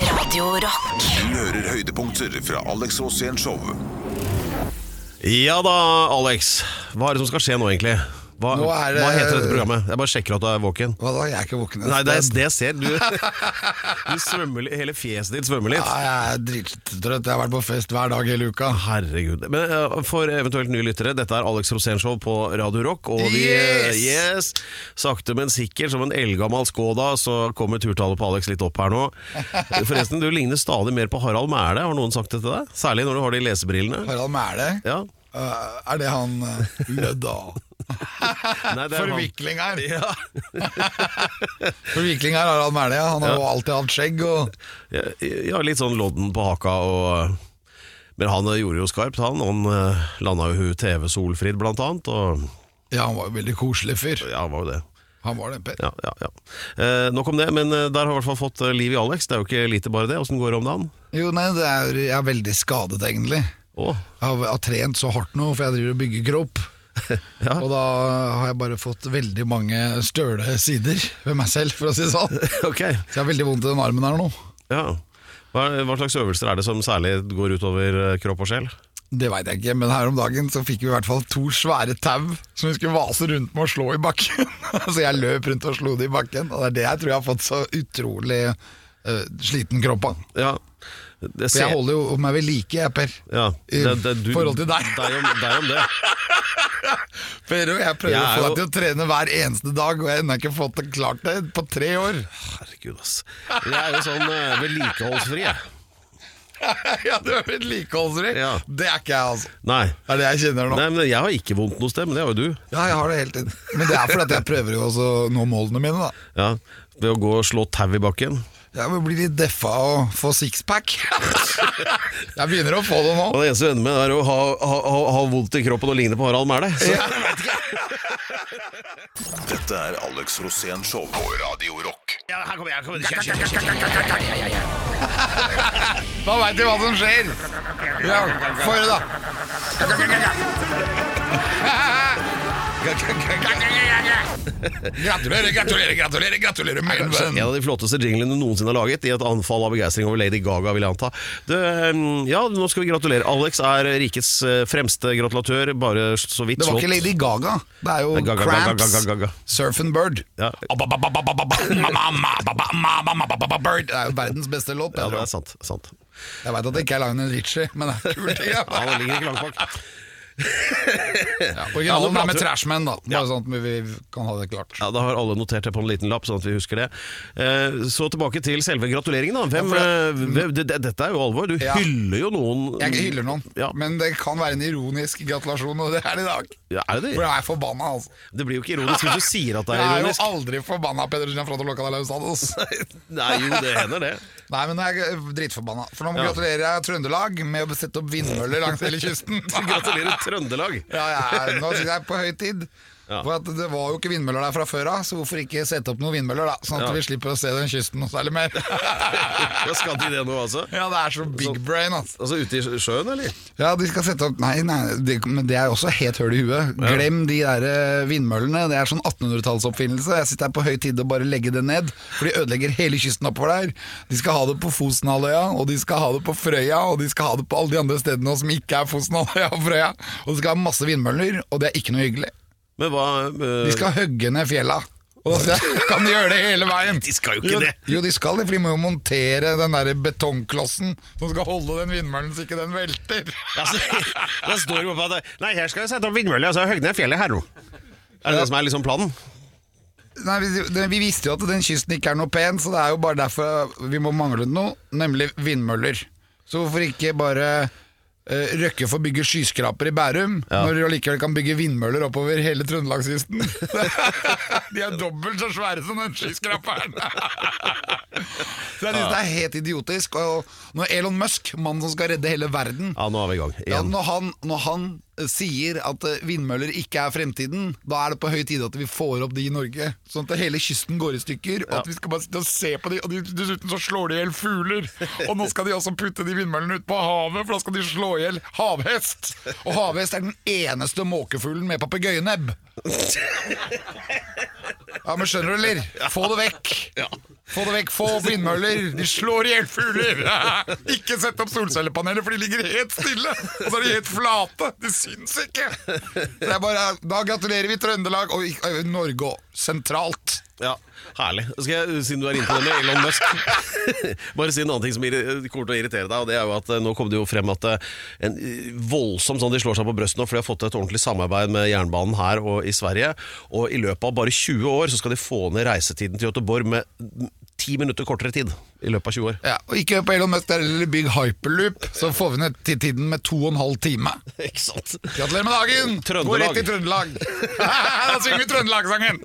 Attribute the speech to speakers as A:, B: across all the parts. A: Radio Rock.
B: Du hører høydepunkter fra Alex Rosén Show.
C: Ja da, Alex. Hva er det som skal skje nå, egentlig? Hva,
D: Nå er det-
C: hva heter dette programmet? Jeg bare sjekker at du er våken.
D: Hva da, jeg er ikke våken.
C: Nei, det, er- det ser du. du svømmer litt, hele fjeset ditt svømmer litt.
D: Ja, jeg er drittrøtt. Jeg har vært på fest hver dag hele uka.
C: Herregud. Men eh, for eventuelt nye lyttere, dette er Alex Rosénshow på Radio Rock. Og vi, eh,
D: Yes!
C: yes! Sakte, men sikkert, som en eldgammel Skoda, så kommer turtallet på Alex litt opp her nå. Forresten, du ligner stadig mer på Harald Mæle, har noen sagt det til deg? Særlig når du har de lesebrillene.
D: Harald Mæle,
C: Ja.
D: øh, er det han øh, Lødda?
C: Nei, det er han.
D: Forvikling her!
C: Ja.
D: Forvikling her, Harald Mæle. ja. Han har jo alltid hatt skjegg. Og...
C: Ja, ja, litt sånn lodden på haka og Men han eh, gjorde jo skarpt, han. Han eh, landa jo hun TV Solfrid, blant annet. Og
D: Ja, han var jo veldig koselig fyr.
C: ja, var jo det.
D: Han var det, Per.
C: Ja, ja, ja. Eh, nok om det, men eh, der har i hvert fall fått eh, liv i Alex. Det er jo ikke lite bare det. Åssen går det om dagen?
D: Jo, nei, det er, jeg er veldig skadet, egentlig.
C: Å,
D: Jeg har, jeg har trent så hardt nå, for jeg driver og bygger kropp.
C: Ja.
D: Og da har jeg bare fått veldig mange støle sider ved meg selv, for å si det sånn.
C: ok.
D: Så jeg har veldig vondt i den armen her nå.
C: Ja. Hva, hva slags øvelser er det som særlig går utover eh, kropp og sjel?
D: Det veit jeg ikke, men her om dagen så fikk vi i hvert fall to svære tau som vi skulle vase rundt med og slå i bakken. så jeg løp rundt og slo det i bakken, og det er det jeg tror jeg har fått så utrolig eh, sliten kropp av.
C: Ja, det
D: For jeg holder jo meg ved like, jeg, Per.
C: ja,
D: i forhold til deg.
C: deg om, deg om det.
D: Per og jeg prøver
C: Jeg er
D: å få
C: jo-
D: deg til å trene hver eneste dag, og jeg har ennå ikke fått det klart det på tre år.
C: Herregud, ass. Jeg er jo sånn eh, vedlikeholdsfri, jeg.
D: ja, du er vedlikeholdsrik.
C: Ja.
D: Det er ikke jeg, altså.
C: Nei.
D: Det er det jeg kjenner nå.
C: Nei, men jeg har ikke vondt noe sted, men det har jo du.
D: Ja, jeg har det hele tiden. Men det er fordi at jeg prøver jo også å nå målene mine, da.
C: Ja, ved å gå og slå tau i bakken.
D: Jeg blir litt deffa og få sixpack. jeg begynner å få det nå.
C: Og det eneste du ender med, er å ha, ha, ha, ha vondt i kroppen og ligne på Harald Mæhle. Så-
B: Dette er Alex Rosén Show på Radio Rock.
D: Da veit vi hva som skjer. Ja, Få høre, da. Gratulerer, gratulerer, gratulerer, gratulerer, min venn.
C: En av de flotteste jinglene du noensinne har laget, i et anfall av begeistring over Lady Gaga, vil jeg anta. Du, eh, ja, nå skal vi gratulere. Alex er rikets eh, fremste gratulatør, bare så vidt
D: Det var
C: slått.
D: ikke Lady Gaga. Det er jo
C: Gaga, Gaga,
D: Cramps,
C: Gaga, Gaga.
D: Surf and Bird. Ah,
C: Ja.
D: Bird. Det er jo verdens beste låt.
C: Ja, det
D: Pedro.
C: er sant. sant.
D: Jeg veit at det ikke er Lionel Richie, men det er kult.
C: Ja, det ligger ikke langt bak.
D: Ja,
C: Ja, nå
D: Originalen er med
C: prater-
D: Trashman, da. Bare
C: Ja.
D: sånn at vi kan ha det klart.
C: Ja, Da har alle notert det på en liten lapp, sånn at vi husker det. Eh, Så tilbake til selve gratuleringen, da. Hvem,
D: Ja,
C: eh, hvem, det, det- dette er jo alvor. Du
D: Ja.
C: hyller jo noen
D: Jeg hyller noen,
C: Ja.
D: men det kan være en ironisk gratulasjon, og det er det i dag.
C: Ja, er det
D: For
C: det?
D: jeg er forbanna, altså.
C: Det blir jo ikke ironisk hvis du sier at det
D: Jeg
C: er
D: er jo
C: ironisk.
D: aldri forbanna, Pedersen, for at du lokka deg løs av oss.
C: Nei, jo, det hender det.
D: Nei, men jeg er dritforbanna. For nå
C: Ja.
D: gratulerer jeg Trøndelag med å sette opp vindmøller langs hele kysten.
C: Gratulerer, Trøndelag.
D: Ja, jeg er- nå synes jeg er på høy tid.
C: Ja.
D: For at det var jo ikke vindmøller der fra før av, så hvorfor ikke sette opp noen vindmøller, da? Sånn at
C: Ja.
D: vi slipper å se den kysten noe særlig mer.
C: Ja, skal de det nå, altså?
D: Ja, det er så big brain, altså.
C: Altså Ute i sjøen, eller?
D: Ja, de skal sette opp Nei, nei det, men det er jo også helt høl i huet. Glem de der eh, vindmøllene. Det er sånn 1800-tallsoppfinnelse. Jeg sitter her på høy tid å bare legge det ned, for de ødelegger hele kysten oppover der. De skal ha det på Fosenhalvøya, og de skal ha det på Frøya, og de skal ha det på alle de andre stedene som ikke er Fosenhalvøya og Frøya. Og de skal ha masse vindmøller, og det er ikke noe hyggelig.
C: Men hva eh,
D: De skal hogge ned fjella. Og da sier jeg, kan de gjøre det hele veien?
C: De skal jo ikke
D: jo,
C: det.
D: Jo, de skal det, for de må jo montere den der betongklossen som skal holde den vindmøllen så ikke den velter.
C: altså, Da står det oppe at det- Nei, her skal vi sette opp vindmøller, og så høgne ned fjellet her nå. Er det det som er liksom planen?
D: Nei, vi, det- vi visste jo at den kysten ikke er noe pen, så det er jo bare derfor vi må mangle noe, nemlig vindmøller. Så hvorfor ikke bare eh, Røkke får bygge skyskraper i Bærum, når de allikevel kan bygge vindmøller oppover hele Trøndelagskysten. de er dobbelt så svære som den skyskraperen! så jeg syns det er helt idiotisk. Og når Elon Musk, mannen som skal redde hele verden,
C: Ja, nå er vi i gang.
D: ja,
C: Igjen.
D: når, han, når han eh, sier at eh, vindmøller ikke er fremtiden, da er det på høy tid at vi får opp de i Norge. Sånn at hele kysten går i stykker, og at vi skal bare sitte og se på de. Og de, dessuten så slår de i hjel fugler. Og nå skal de også putte de vindmøllene ut på havet, for da skal de slå i hjel havhest. Og havhest er den eneste måkefuglen med papegøyenebb.
E: Ja, men skjønner du, eller? Få det vekk. Få det vekk, få opp vindmøller. De slår i hjel fugler. Ikke sett opp solcellepaneler, for de ligger helt stille. Og så er de helt flate. De syns ikke. Det er bare, da gratulerer vi Trøndelag og i- Norge og sentralt.
C: Ja, Herlig. Skal jeg, Siden du er inne på det med Elon Musk Bare si en annen ting som irri- kommer til å irritere deg. Og det er jo at eh, Nå kom det jo frem at eh, en eh, voldsom sånn De slår seg på brøstet nå, for de har fått et ordentlig samarbeid med jernbanen her og i Sverige. Og i løpet av bare 20 år så skal de få ned reisetiden til Göteborg med mm, 10 minutter kortere tid. I løpet av 20 år.
E: Ja, og ikke hør på Elon Musk, eller bygg hyperloop, så får vi ned til tiden med to og en halv time.
C: Ikke sant?
E: Gratulerer med dagen! Gå
C: Trøndelag.
E: rett i Trøndelag. da synger vi Trøndelag-sangen!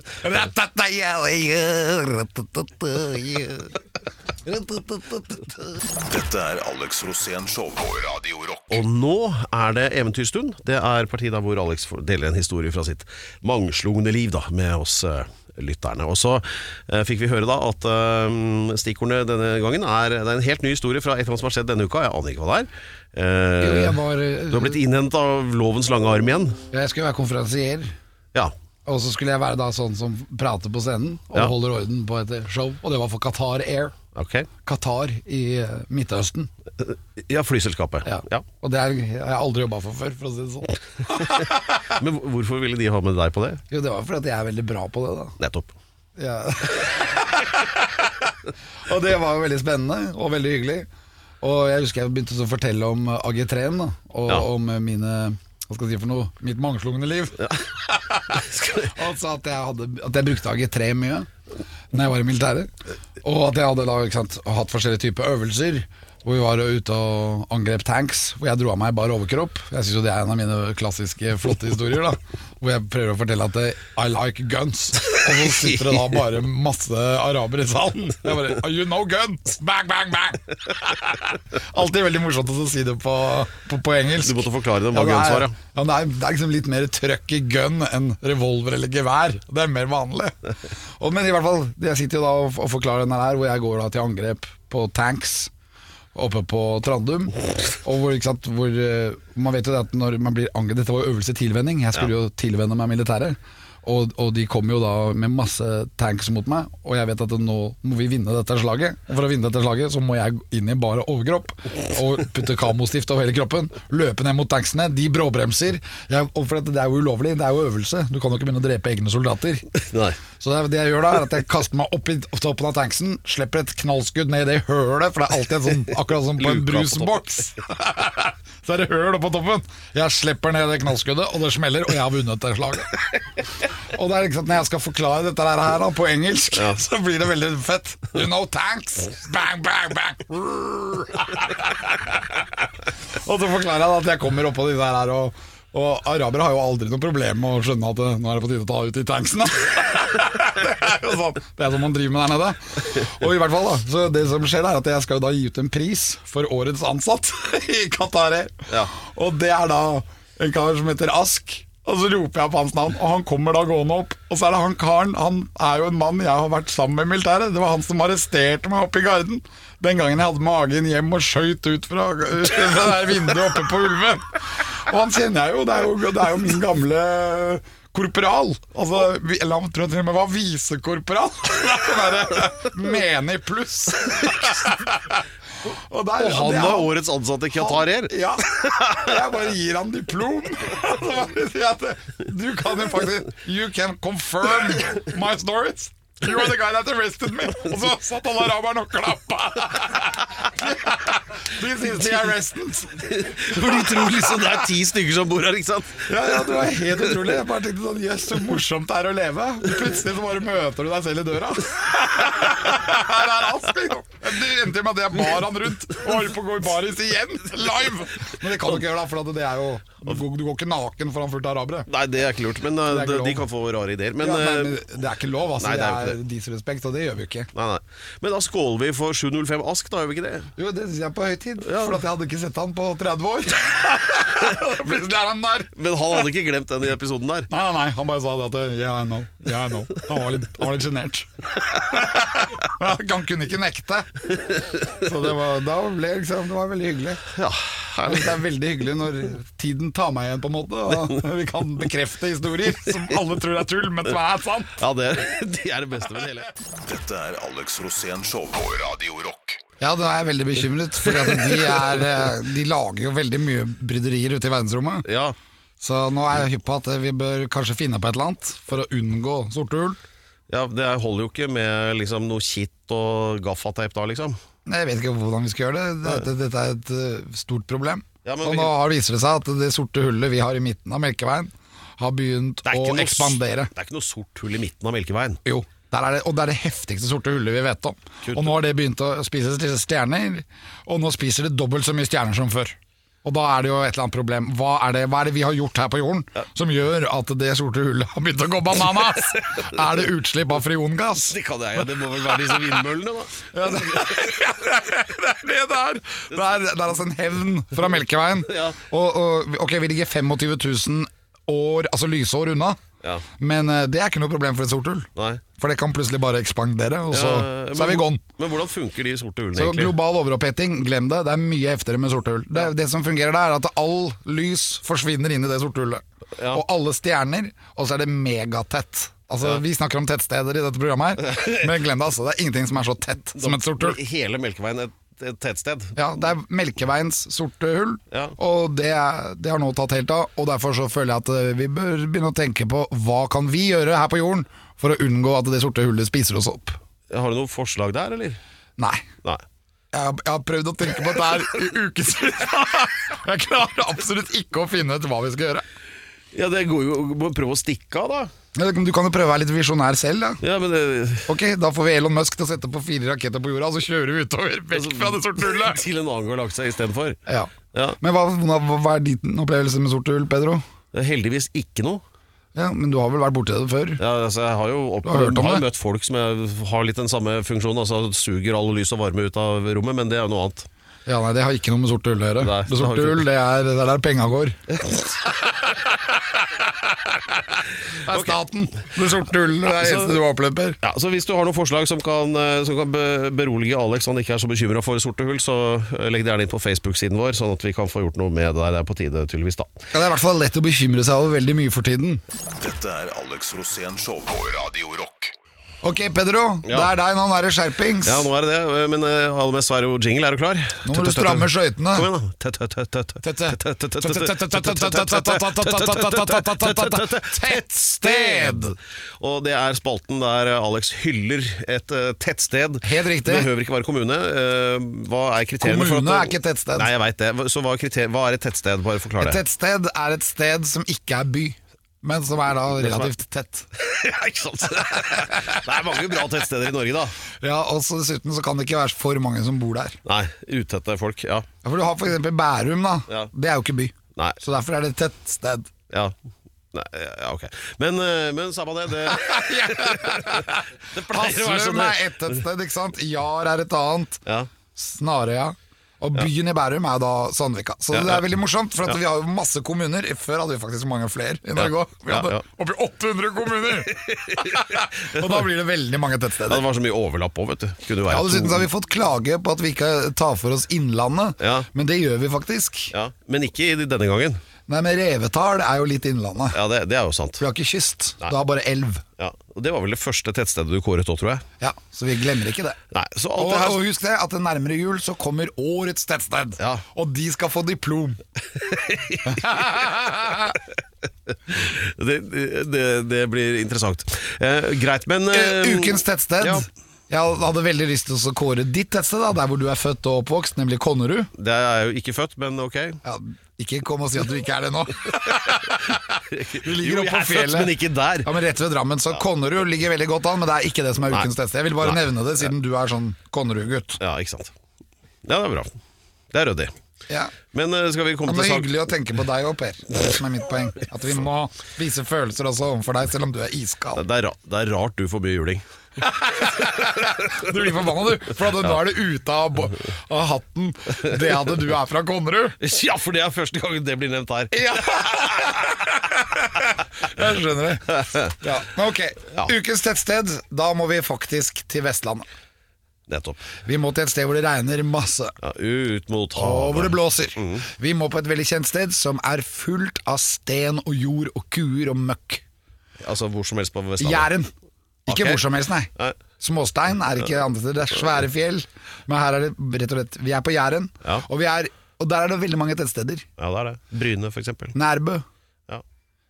B: Dette er Alex Rosén Show på Radio Rock.
C: Og nå er det eventyrstund. Det er partiet da hvor Alex får- deler en historie fra sitt mangslungne liv da, med oss eh, lytterne. Og så eh, fikk vi høre da at eh, stikkordene denne gangen er Det er en helt ny historie fra et eller annet som har skjedd denne uka. Jeg aner ikke hva det er. Eh,
E: Jo, jeg var, eh,
C: du har blitt innhentet av lovens lange arm igjen.
E: Jeg skulle være konferansier,
C: Ja.
E: og så skulle jeg være da sånn som prater på scenen og
C: Ja.
E: holder orden på et show, og det var for Qatar Air.
C: Ok.
E: Qatar i eh, Midtøsten.
C: Ja, flyselskapet.
E: Ja.
C: Ja.
E: Og det er, jeg har aldri jobba for før, for å si det sånn.
C: Men hvorfor ville de ha med deg på det?
E: Jo, det var fordi at jeg er veldig bra på det, da.
C: Nettopp.
E: Ja. og det var jo veldig spennende og veldig hyggelig. Og jeg husker jeg begynte så å fortelle om eh, AG3-en, da, og
C: Ja.
E: om eh, mine hva skal jeg si for noe? Mitt mangslungne liv. Og han sa at jeg, hadde, at jeg brukte AG3 mye Når jeg var i militæret. Og at jeg hadde da, ikke sant, hatt forskjellige typer øvelser. Hvor vi var ute og angrep tanks. Hvor jeg dro av meg i bar overkropp. Jeg syns jo det er en av mine klassiske flotte historier. da Hvor jeg prøver å fortelle at eh, I like guns. Og så sitter det da bare masse arabere i salen. Jeg bare You know guns! Bang, bang, bang! Alltid veldig morsomt å si det på, på, på engelsk.
C: Du måtte forklare dem
E: Ja,
C: hva
E: det er-
C: guns var, ja.
E: ja, det, er, det er liksom litt mer trøkk i gun enn revolver eller gevær. Det er mer vanlig. Og, men i hvert fall, jeg sitter jo da og, og forklarer denne her, hvor jeg går da til angrep på tanks oppe på Trandum. Og hvor, ikke sant, hvor eh, Man vet jo det at når man blir angrepet Dette var jo øvelse tilvenning. Jeg skulle jo tilvenne meg militæret. Og, og de kom jo da med masse tanks mot meg, og jeg vet at nå må vi vinne dette slaget. Og for å vinne dette slaget så må jeg inn i bare overkropp og putte kamostift over hele kroppen. Løpe ned mot tanksene, de bråbremser. Jeg, og for at det er jo ulovlig, det er jo øvelse. Du kan jo ikke begynne å drepe egne soldater.
C: Nei.
E: Så det, det jeg gjør da, er at jeg kaster meg opp i toppen av tanksen, slipper et knallskudd ned i det hølet, for det er alltid en sånn, akkurat som på en
C: Luka på
E: brusboks. Så er det høl oppå toppen. Jeg slipper ned det knallskuddet, og det smeller, og jeg har vunnet det slaget. Og det er ikke sant, når jeg skal forklare dette der her da, på engelsk, så blir det veldig fett. You know tanks! Bang, bang, bang! Og så forklarer jeg da at jeg kommer oppå disse her og og arabere har jo aldri noe problem med å skjønne at eh, nå er det på tide å ta ut de tanksene. det er jo sånn Det er sånn man driver med der nede. Og i hvert fall da Så det som skjer, er at jeg skal jo da gi ut en pris for årets ansatt i Qatar Air.
C: Ja.
E: Og det er da en kar som heter Ask. Og så roper jeg på hans navn, og han kommer da gående opp. Og så er det han karen, han er jo en mann jeg har vært sammen med i militæret. Det var han som arresterte meg oppe i garden. Den gangen jeg hadde magen hjem og skøyt ut fra, fra det der vinduet oppe på Ulven. Og han kjenner jeg jo, det er jo, det er jo min gamle korporal. Altså, vi- eller han tror jeg til og med var visekorporal. Menig pluss. Og, der,
C: Og han
E: det er
C: var årets ansatte i Qatar Air.
E: ja, jeg bare gir han diplom. Så bare sier jeg at Du kan jo faktisk You can confirm my stories. You are the guy that arrested me. Og så satt han araberen og klappa. This is the arrestant.
C: For de tror liksom det er ti stykker som bor her, ikke sant?
E: Ja, ja, det var helt utrolig. Jeg bare tenkte sånn Jøss, så morsomt det er å leve. Plutselig så bare møter du deg selv i døra. Her er Ask, liksom. Det endte med at jeg bar han rundt og holdt på å gå i baris igjen, live. Men det kan du ikke gjøre, da, for at det er jo Du går- du går ikke naken foran fullt av arabere.
C: Nei, det er ikke lurt, men uh,
E: Det er ikke
C: de,
E: lov.
C: de kan få rare ideer. Men,
E: Ja, nei,
C: uh,
E: men det er ikke lov, altså.
C: Nei, det er jo
E: det
C: ikke
E: er disrespekt, og det gjør vi jo ikke.
C: nei, nei. men da skåler vi for 705 Ask, da gjør vi ikke det?
E: Jo, det syns jeg er på høy tid, for at jeg hadde ikke sett han på 30 år. Plutselig er han der.
C: Men han hadde ikke glemt den i episoden der.
E: Nei, nei, nei, han bare sa
D: eh,
E: det at Yeah, I know. Yeah, I know. Han var litt, han var litt sjenert. Men han kunne ikke nekte. Så det var, da ble liksom, det var veldig hyggelig.
C: Ja,
D: Jeg synes Det er veldig hyggelig når tiden tar meg igjen, på en måte. Og vi kan bekrefte historier som alle tror er tull, men som er sant.
C: Ja, det er det, er det beste med det hele.
B: Dette er Alex Rosén Show på Radio Rock.
D: Ja, da er jeg veldig bekymret, for de, er, eh, de lager jo veldig mye bryderier ute i verdensrommet.
C: Ja,
D: Så nå er jeg hypp på at vi bør kanskje finne på et eller annet for å unngå sorte hull.
C: ja Det holder jo ikke med liksom, noe kitt og gaffateip da, liksom.
D: Nei, Jeg vet ikke hvordan vi skal gjøre det. Dette, dette er et eh, stort problem.
C: Ja, men
D: og
C: vi-
D: nå har viser det seg at det sorte hullet vi har i midten av Melkeveien, har begynt
C: Det er
D: å
C: ikke noe-
D: ekspandere.
C: Det er ikke noe sort hull i midten av Melkeveien.
D: Jo, der er det, og det er det heftigste sorte hullet vi vet om.
C: Kutt.
D: Og nå har det begynt å spise disse stjerner, og nå spiser det dobbelt så mye stjerner som før. Og da er det jo et eller annet problem. Hva er det, hva er det vi har gjort her på jorden som gjør at det sorte hullet har begynt å gå bananas? er det utslipp av friongass?
C: Det kan jeg, ja. det må vel være disse vindmøllene, da.
D: Ja, det, det er det det er. Det er, det er altså en hevn fra Melkeveien.
C: Ja.
D: Og, og, ok, vi ligger 25 000 år, altså lysår unna,
C: Ja.
D: men eh, det er ikke noe problem for et sort hull.
C: Nei.
D: For det kan plutselig bare ekspandere, og så,
C: Eh,
D: så er vi
C: men-
D: gone.
C: Men hvordan funker de sorte hullene,
D: Så
C: egentlig?
D: global overoppheting, glem det. Det er mye heftigere med sorte hull. Det, er- det som fungerer der, er at all lys forsvinner inn i det sorte hullet.
C: Ja.
D: Og alle stjerner, og så er det megatett. Altså, Vi snakker om tettsteder i dette programmet her, men glem det, altså. Det er ingenting som er så tett som et sort hull.
C: Hele Melkeveien et, et tettsted.
D: Ja, det er Melkeveiens sorte hull,
C: Ja.
D: og det, er- det har nå tatt helt av. Og derfor så føler jeg at eh, vi bør begynne å tenke på hva kan vi gjøre her på jorden for å unngå at det sorte hullet spiser oss opp.
C: Har du noe forslag der, eller?
D: Nei.
C: Nei.
D: Jeg har, jeg har prøvd å tenke på dette her i ukevis. Jeg klarer absolutt ikke å finne ut hva vi skal gjøre.
C: Ja, det går jo Må prøve å stikke av, da.
D: Men Du kan jo prøve å være litt visjonær selv, da.
C: Ja, men det
D: Ok, Da får vi Elon Musk til å sette på fire raketter på jorda, og så kjører vi utover vekk fra det sorte hullet.
C: altså, Til en annen galakse istedenfor.
D: Ja.
C: Ja.
D: Men hva, hva- hva er din opplevelse med sorte hull, Pedro?
C: Det er Heldigvis ikke noe.
D: Ja, Men du har vel vært borti det før?
C: Ja, altså, jeg har jo opp,
D: Du har hørt om
C: har jo
D: det?
C: møtt folk som jeg har litt den samme funksjonen, altså suger all lys og varme ut av rommet, men det er jo noe annet.
D: Ja, nei, Det har ikke noe med sorte hull å gjøre.
C: Nei,
D: det
C: det har
D: sorte
C: ikke-
D: hull, det er, det er der penga går. Det er staten. Det sorte hullet det er det
C: Så-
D: eneste du har opplevd, Per.
C: Ja, så Hvis du har noen forslag som kan, eh, som kan be- berolige Alex, så han ikke er så bekymra for sorte hull, så eh, legg det gjerne inn på Facebook-siden vår, sånn at vi kan få gjort noe med det der. Det er på tide, tydeligvis, da.
D: Ja, det er i hvert fall lett å bekymre seg over veldig mye for tiden.
B: Dette er Alex Rosén Show på Radio Rock.
D: Ok, Pedro. Det
C: Ja.
D: er deg. Nå er det skjerpings.
C: Ja, nå er det det, eh, men eh, aller mest er det jo jingle. Er du klar?
D: Nå må du stramme skøytene.
C: Kom igjen, da. Tette.
D: Tettsted.
C: Og det er spalten der Alex hyller et eh, tettsted.
D: Helt riktig.
C: Det behøver ikke være kommune. Eh, Hva er kriteriene for at
D: Kommune er ikke et tettsted.
C: Nei, jeg veit det. Så hva er, kriter- hva er et tettsted? Bare forklar
D: Et
C: det.
D: tettsted er et sted som ikke er by, men som er da relativt tett.
C: Ja, ikke sant? Det er mange bra tettsteder i Norge, da.
D: Ja, og så Dessuten så kan det ikke være for mange som bor der.
C: Nei, utette folk. Ja.
D: Ja, For du har f.eks. Bærum, da.
C: Ja.
D: Det er jo ikke by.
C: Nei.
D: Så derfor er det et tettsted.
C: Ja. Nei, ja, ok. Men, eh, men samme det. Det, det pleier å være sånn.
D: Haslum
C: det.
D: er ett tettsted, ikke sant? Jar er et annet.
C: Ja.
D: Snarøya. Og byen i Bærum er da Sandvika. Så
C: Ja,
D: det
C: ja.
D: er veldig morsomt, for at vi har jo masse kommuner. Før hadde vi faktisk mange flere i Norge òg. Vi
C: Ja,
D: hadde
C: ja.
D: oppi 800 kommuner! og da blir det veldig mange
C: ja, det
D: tettsteder.
C: var så mye overlapp òg, vet du. Kunne
D: Ja,
C: være
D: Dessuten
C: to-
D: så har vi fått klage på at vi ikke tar for oss Innlandet,
C: Ja.
D: men det gjør vi faktisk.
C: ja, men ikke i denne gangen.
D: Nei, men Revetal er jo litt Innlandet.
C: Ja, det, det er jo sant.
D: Vi har ikke kyst,
C: Nei.
D: du har bare elv.
C: Ja, og Det var vel det første tettstedet du kåret òg, tror jeg.
D: Ja, Så vi glemmer ikke det.
C: Nei, så alt
D: Og,
C: det her
D: og husk det, at det nærmere jul så kommer årets tettsted,
C: Ja.
D: og de skal få diplom.
C: det, det, det blir interessant. Eh, greit, men eh,
D: Eh, Ukens tettsted.
C: ja.
D: Jeg hadde veldig lyst til å kåre ditt tettsted, da, der hvor du er født og oppvokst, nemlig Konnerud.
C: Det er jo ikke født, men ok.
D: Ja, ikke kom og si at du ikke er det nå. Du ligger
C: Jo, jeg
D: oppe på
C: er født,
D: fjellet.
C: men ikke der.
D: Ja, men Rett ved Drammen. Så Konnerud ligger veldig godt an, men det er ikke det som er
C: Nei.
D: ukens tettsted. Jeg vil bare
C: Nei.
D: nevne det, siden du er sånn Konnerud-gutt.
C: Ja, ikke sant. Ja, det er bra. Det er ryddig.
D: Ja.
C: Men eh, skal vi komme
D: Men Det
C: til
D: er
C: sak...
D: hyggelig å tenke på deg òg, Per. Det er det som er mitt poeng. At vi må vise følelser også overfor deg, selv om du er iskald.
C: Det er, ra det er rart du får mye juling.
D: Du blir forbanna, du. For at nå er det ute av, bo- av hatten det at du er fra Konnerud.
C: Ja, for det er første gangen det blir nevnt her.
D: Ja. Jeg skjønner det. Ja. Men ok,
C: Ja.
D: ukens tettsted. Da må vi faktisk til Vestlandet.
C: Nettopp.
D: Vi må til et sted hvor det regner masse.
C: Ja, ut mot
D: Og hvor det
C: havet.
D: Mm. blåser. Vi må på et veldig kjent sted som er fullt av sten og jord og kuer og møkk.
C: Altså hvor som helst på Vestlandet.
D: Jæren. Ikke
C: Ok.
D: hvor som helst, nei.
C: Nei.
D: Småstein er ikke andre steder. Det er svære fjell. Men her er det rett og slett Vi er på Jæren,
C: Ja.
D: og, vi er, og der er det veldig mange tettsteder.
C: Ja, det er det. Bryne, for eksempel.
D: Nærbø.
C: Ja.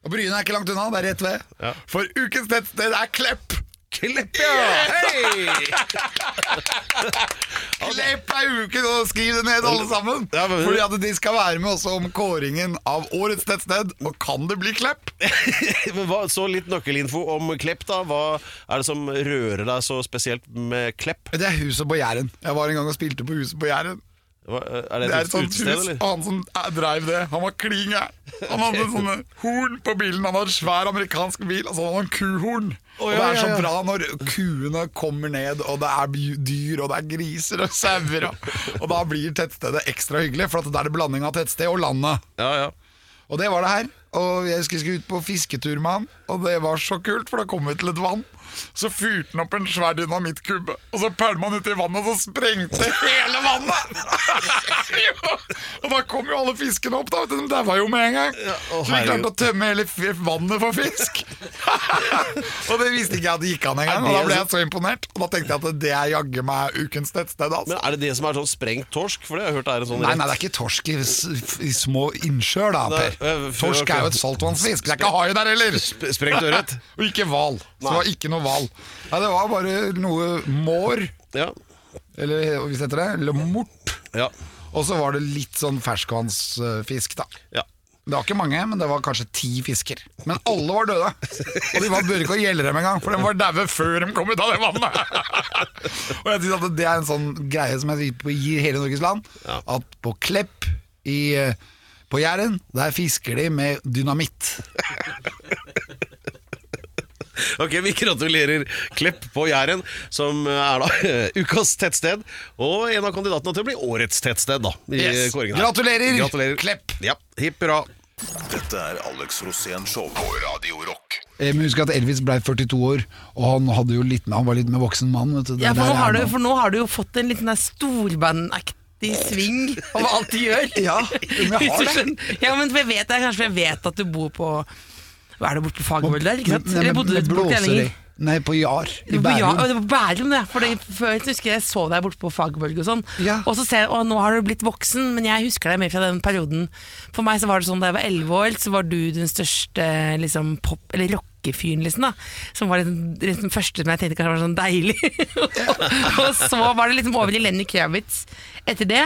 D: Og Bryne er ikke langt unna, det er rett ved.
C: Ja.
D: For ukens tettsted er Klepp!
C: Klepp, ja!
D: Klepp er uken, og skriv det ned, alle sammen!
C: Ja, men-
D: Fordi at de skal være med også om kåringen av årets tettsted. Og kan det bli Klepp?
C: Men hva, så litt nøkkelinfo om Klepp, da. Hva er det som rører deg så spesielt med Klepp?
D: Det er huset på Jæren. Jeg var en gang og spilte på Huset på Jæren.
C: Hva, er det
D: Det
C: et
D: er et sånt
C: utested,
D: hus,
C: eller?
D: og han som eh, dreiv det, han var kling gæren. Han hadde sånne horn på bilen, han hadde en svær amerikansk bil, og så hadde han kuhorn.
C: Å,
D: og
C: ja,
D: det er
C: ja,
D: så
C: ja.
D: bra når kuene kommer ned, og det er by- dyr, og det er griser og sauer, og, og da blir tettstedet ekstra hyggelig, for at det er det blanding av tettsted og landet.
C: Ja, ja.
D: Og det var det her. Og jeg husker jeg skulle ut på fisketur med han, og det var så kult, for da kom vi til et vann. Så fyrte han opp en svær dynamittkubbe, og så pælma han uti vannet, og så sprengte hele vannet! Jo, og da kom jo alle fiskene opp, da. vet du, De daua jo med en gang.
C: å,
D: så vi
C: herregud.
D: klarte å tømme hele f- vannet for fisk. og det visste ikke jeg at det gikk an
C: Er det
D: engang. Og da ble
C: så-
D: jeg så imponert. Og da tenkte jeg at det er jaggu meg ukens tettsted, altså.
C: Men er det det som er sånn sprengt torsk? For det har jeg hørt er en sånn
D: Nei, nei, det er ikke torsk i, s- i små innsjøer, da,
C: Nei,
D: Per.
C: øh, for-
D: Torsk er jo et saltvannsfisk. Det er ikke hai der heller!
C: rett. Sprengt ørret?
D: Og ikke hval. Så det
C: Nei.
D: var ikke noe hval. Nei, det var bare noe mår,
C: Ja.
D: eller hvis det heter det, eller mort.
C: Ja.
D: Og så var det litt sånn ferskvannsfisk, da.
C: ja.
D: Det var ikke mange, men det var kanskje ti fisker. Men alle var døde. Og de var bør ikke å gjelde dem engang, for de var daue før de kom ut av det vannet. Og jeg synes at Det er en sånn greie som jeg gir- gir hele Norges land.
C: Ja.
D: At på Klepp i, eh, på Jæren, der fisker de med dynamitt.
C: Ok, vi gratulerer Klepp på Jæren, som er da ukas tettsted, og en av kandidatene til å bli årets tettsted, da. I
D: Yes.
C: kåringen her.
D: Gratulerer, Klepp.
C: Ja, hipp hurra.
B: Dette er Alex Rosén Show på Radio Rock.
D: Eh, Men husk at Elvis ble 42 år, og han, hadde jo litt, han var litt med voksen mann. Vet du. Det
F: Ja,
D: er
F: for
D: der
F: nå,
D: jeg
F: har
D: er
F: du,
D: nå.
F: for nå har du jo fått en liten der storbandaktig sving over alt du gjør.
D: Ja, men jeg har
F: Hvis du
D: det.
F: skjønner. Ja, men for jeg vet, jeg, kanskje jeg vet at du bor på Hva er det borte på Fagervoll der? ikke sant?
D: Nei, men-
F: Eller bodde
D: men
F: du borte i
D: blåser
F: Ellinger?
D: i. Nei, på Jar i
F: På Ja,
D: Bærum.
F: det var Bærum, det. For det, før jeg husker jeg så deg borte på Fagerborg og sånn.
D: Ja.
F: Og så ser jeg, å, nå har du blitt voksen, men jeg husker deg mer fra den perioden. For meg så var det sånn da jeg var elleve år, så var du den største liksom, pop- eller rockefyren, liksom. da Som var liksom, liksom den første som jeg tenkte kanskje var sånn deilig. og så var det liksom over til Lenny Kravitz etter det.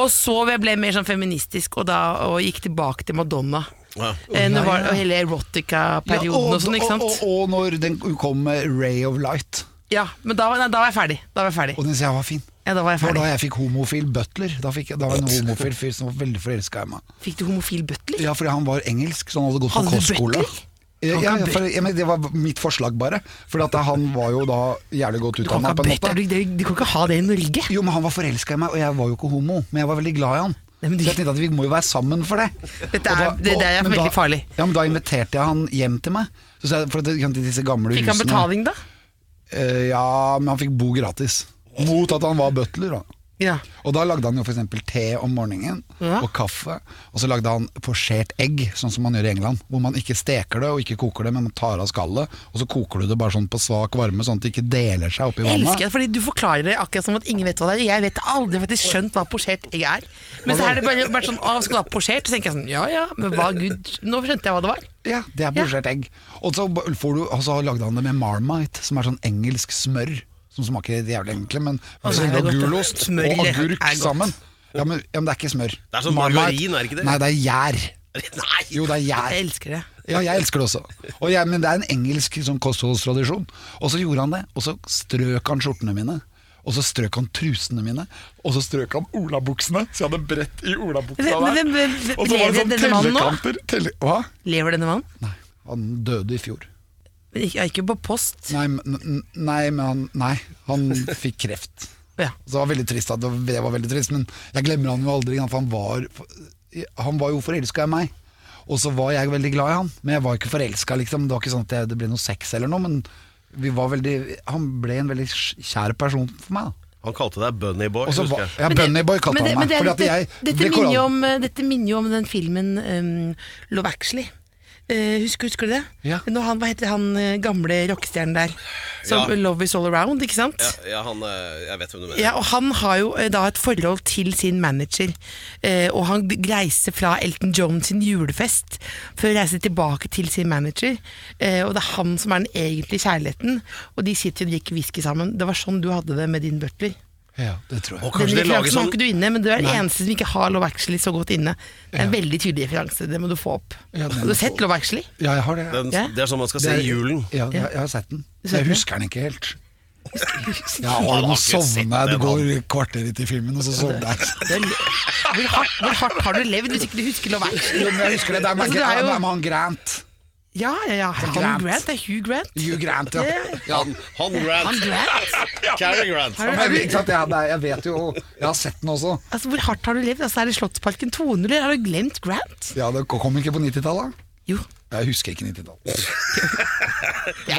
F: Og så ble jeg mer sånn feministisk, og da og gikk tilbake til Madonna.
C: Ja.
F: Eh, nå
D: Ja,
F: var,
D: ja.
F: og hele erotica-perioden
D: Ja,
F: og sånn, ikke sant?
D: Og, og, og når den kom med Ray of Light,
F: Ja, men da, var- nei, da var jeg ferdig. Da var jeg ferdig.
D: og den sier jeg var fin.
F: Ja, da var jeg
D: Det var
F: ferdig.
D: da jeg fikk homofil butler. Da, fikk, jeg- da var jeg en homofil fyr som var veldig forelska i meg.
F: Fikk du homofil butler?
D: Ja, fordi han var engelsk, så han hadde gått på
F: Hadde du
D: kostskole.
F: butler?
D: Ja,
F: Kan
D: ja,
F: ikke ha
D: for, ja, men det var mitt forslag, bare. For at han var jo da jævlig godt
F: Du kan,
D: utdanna.
F: ikke ha butler. Du, du, du kan ikke ha det i Norge.
D: Jo, men han var forelska i meg, og jeg var jo ikke homo, men jeg var veldig glad i han.
F: Nei, men du-
D: Så jeg tenkte at vi må jo være sammen for det.
F: Dette
D: Og
F: er- det- det er
D: og- men
F: veldig
D: da,
F: farlig.
D: Ja, men da inviterte jeg han hjem til meg. Så sa jeg, for at det, til disse gamle
F: Fikk han
D: husene-
F: betaling, da?
D: Eh, ja, men han fikk bo gratis. Mot at han var butler, da.
F: Ja.
D: Og da lagde han jo f.eks. te om morgenen,
F: Ja.
D: og kaffe. Og så lagde han posjert egg, sånn som man gjør i England. Hvor man ikke steker det og ikke koker det, men man tar av skallet, og så koker du det bare sånn på svak varme, sånn at det ikke deler seg oppi
F: Jeg
D: vannet.
F: elsker det, fordi du forklarer det akkurat som at ingen vet hva det er. Jeg vet aldri faktisk skjønt hva posjert egg er. Men så er det bare, bare sånn Å, skal du ha posjert? Så tenker jeg sånn Ja ja, men hva gud Nå skjønte jeg hva det var.
D: Ja, det er
F: Ja.
D: posjert egg. Og så, b- får du, og så lagde han det med marmite, som er sånn engelsk smør. Som smaker jævlig egentlig, men
F: Å,
D: så
F: det
D: er det
F: er godt, det.
D: Sånn gulost
F: Smør
D: og
F: i det
D: agurk
F: er godt.
D: sammen. Ja men, ja, men det er ikke smør.
C: Det er sånn margarin, er det ikke det?
D: Nei, det er gjær.
C: Nei!
D: Jo, det er gjær.
F: Jeg elsker det.
D: Ja, jeg elsker det også. Og jeg, men det er en engelsk sånn kostholdstradisjon. Og så gjorde han det, og så strøk han skjortene mine. Og så strøk han trusene mine, og så strøk han olabuksene. Så jeg hadde brett i olabuksa der.
F: Men- men- men- men-
D: og så var det
F: lever
D: sånn
F: denne mannen nå?
D: tellekanter. Telle, hva?
F: Lever denne mannen?
D: Nei, han døde i fjor.
F: Men ikke- Jeg gikk jo på post.
D: Nei, men- n- nei, men han, nei, han fikk kreft.
F: Ja.
D: Så det var veldig trist, at det var- det var veldig trist men jeg glemmer han jo aldri. ikke sant, for Han var, han var jo forelska i meg, og så var jeg veldig glad i han. Men jeg var ikke forelska, liksom. Det var ikke sånn at jeg, det ble noe sex eller noe, men vi var veldig, han ble en veldig kjær person for meg. da
C: Han kalte deg Bunny Boy.
E: Og så
C: husker
E: var-
C: jeg.
E: ja, Bunnyboy kalte
F: men det-
E: han meg.
F: men det er-
E: Fordi at jeg
F: dette- dette,
E: ble
F: minner jo
E: kåret-
F: om, eh, dette minner jo om den filmen um, Love Actually. Eh, husker, husker du det?
E: Ja.
F: Når han, hva heter han eh, gamle rockestjernen der? Som
C: Ja.
F: Love Is All Around, ikke sant?
C: Ja, ja, han, eh, jeg vet hvem du mener.
F: Ja, og Han har jo eh, da et forhold til sin manager, eh, og han reiser fra Elton John sin julefest for å reise tilbake til sin manager. Eh, og det er han som er den egentlige kjærligheten, og de sitter og drikker whisky sammen. Det var sånn du hadde det med din butler.
E: Ja, det tror jeg.
C: Og
F: Den
C: kanskje det lager
F: referansen har
C: sånn
F: ikke du inne, men du er den eneste som ikke har Love Actually så godt inne. Det er en veldig tydelig referanse, det må du få opp.
E: Ja, den må
F: har
E: du
F: du
E: få
F: sett Love Actually?
E: Ja, jeg har det.
C: den,
F: Ja.
C: Det er sånn man skal se i
E: Det er-
C: julen.
E: Ja, jeg, jeg har sett den. Jeg
F: sett den? Altså,
E: husker den ikke helt.
F: Det
E: Ja, og
C: har
E: nå
C: ikke sett
E: sovner
C: den,
E: jeg. Det
C: han.
E: går kvarter ut i filmen, og
F: Altså,
E: så sovner jeg.
F: er- Hvor hardt, hvor hardt har du levd hvis ikke du husker Love
E: Jo,
F: Actually?
E: men jeg husker det. Det er med,
F: Altså, det er jo-
E: det er med han Grant.
F: Ja, ja, ja. Han
E: Grant.
F: Grant. Det er Hugh Grant.
E: Hugh Grant, ja.
F: Ja.
E: ja.
C: Han, han
F: Han
C: Grant.
F: Grant.
C: Cary Grant.
F: Har du-
E: Men jeg, ikke sant, jeg, nei, jeg vet jo Jeg har sett den også.
F: Altså, Hvor hardt har du levd? Altså, Er det Slottsparken 200? eller Har du glemt Grant?
E: Ja, Det kom ikke på 90-tallet.
F: Jo.
E: Jeg husker ikke 90-tallet.
F: Det er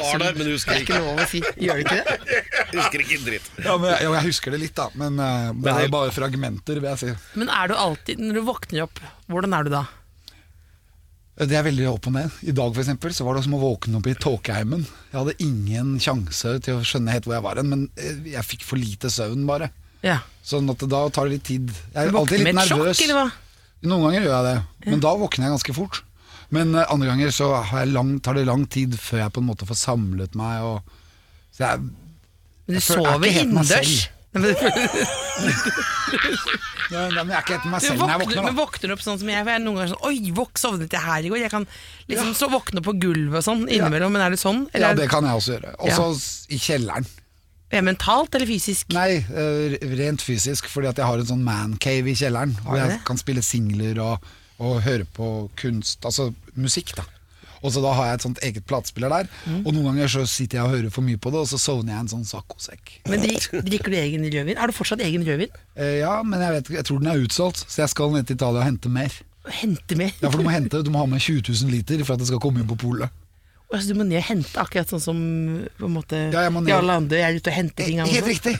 C: Var
F: ikke-
C: der, men husker
F: Det er
C: ikke.
F: ikke lov å si. Gjør det ikke det?
C: Husker ikke en dritt.
E: Ja, men jeg, jo, jeg husker det litt, da. Men eh, det er jo bare fragmenter, vil jeg si.
F: Men er du alltid, når du våkner opp, hvordan er du da?
E: Eh, Det er veldig opp og ned. I dag for eksempel, så var det som å våkne opp i tåkeheimen. Jeg hadde ingen sjanse til å skjønne helt hvor jeg var hen, men eh, jeg fikk for lite søvn, bare.
F: Ja.
E: Sånn at da tar det litt tid. Jeg
F: Du
E: er alltid
F: våkner med
E: litt
F: et
E: nervøs.
F: sjokk, eller hva?
E: Noen ganger gjør jeg det, men da våkner jeg ganske fort. Men eh, andre ganger så har jeg lang, tar det lang tid før jeg på en måte får samlet meg. Og, så jeg,
F: Men du
E: Jeg føler- jeg er
F: sover
E: ikke helt meg
F: innendørs.
E: selv.
F: Nei, men-
E: ja, men jeg er ikke helt meg
F: Du
E: selv når jeg
F: våkner,
E: våkner.
F: men
E: Da.
F: våkner opp sånn som jeg, for jeg er noen ganger sånn Oi, våk, sovnet jeg her i går? Jeg kan liksom så våkne opp på gulvet og sånn innimellom, men er det sånn? Eller
E: Ja,
F: er
E: det
F: det
E: kan jeg også gjøre. Også s- i kjelleren.
F: er det mentalt eller fysisk?
E: Nei, eh, rent fysisk, fordi at jeg har en sånn mancave i kjelleren. Hvor
F: du
E: jeg
F: det?
E: kan spille singler og, og høre på kunst, altså musikk, da. Og så da har jeg et sånt eget platespiller der.
F: Mm.
E: Og noen ganger så sitter jeg og hører for mye på det, og så sovner jeg i en sånn saccosekk.
F: Men dri- drikker du egen rødvin? Har du fortsatt egen rødvin?
E: Eh, ja, men jeg, vet, ikke- jeg tror den er utsolgt, så jeg skal ned til Italia og hente mer.
F: Hente mer?
E: Ja, for Du må hente, du må ha med 20 000 liter for at det skal komme inn på polet.
F: Altså, du må ned og hente, akkurat sånn som på en måte,
E: Ja, jeg må ned.
F: Jarle Andøy er ute og henter ting. han
E: Helt
F: også.
E: riktig!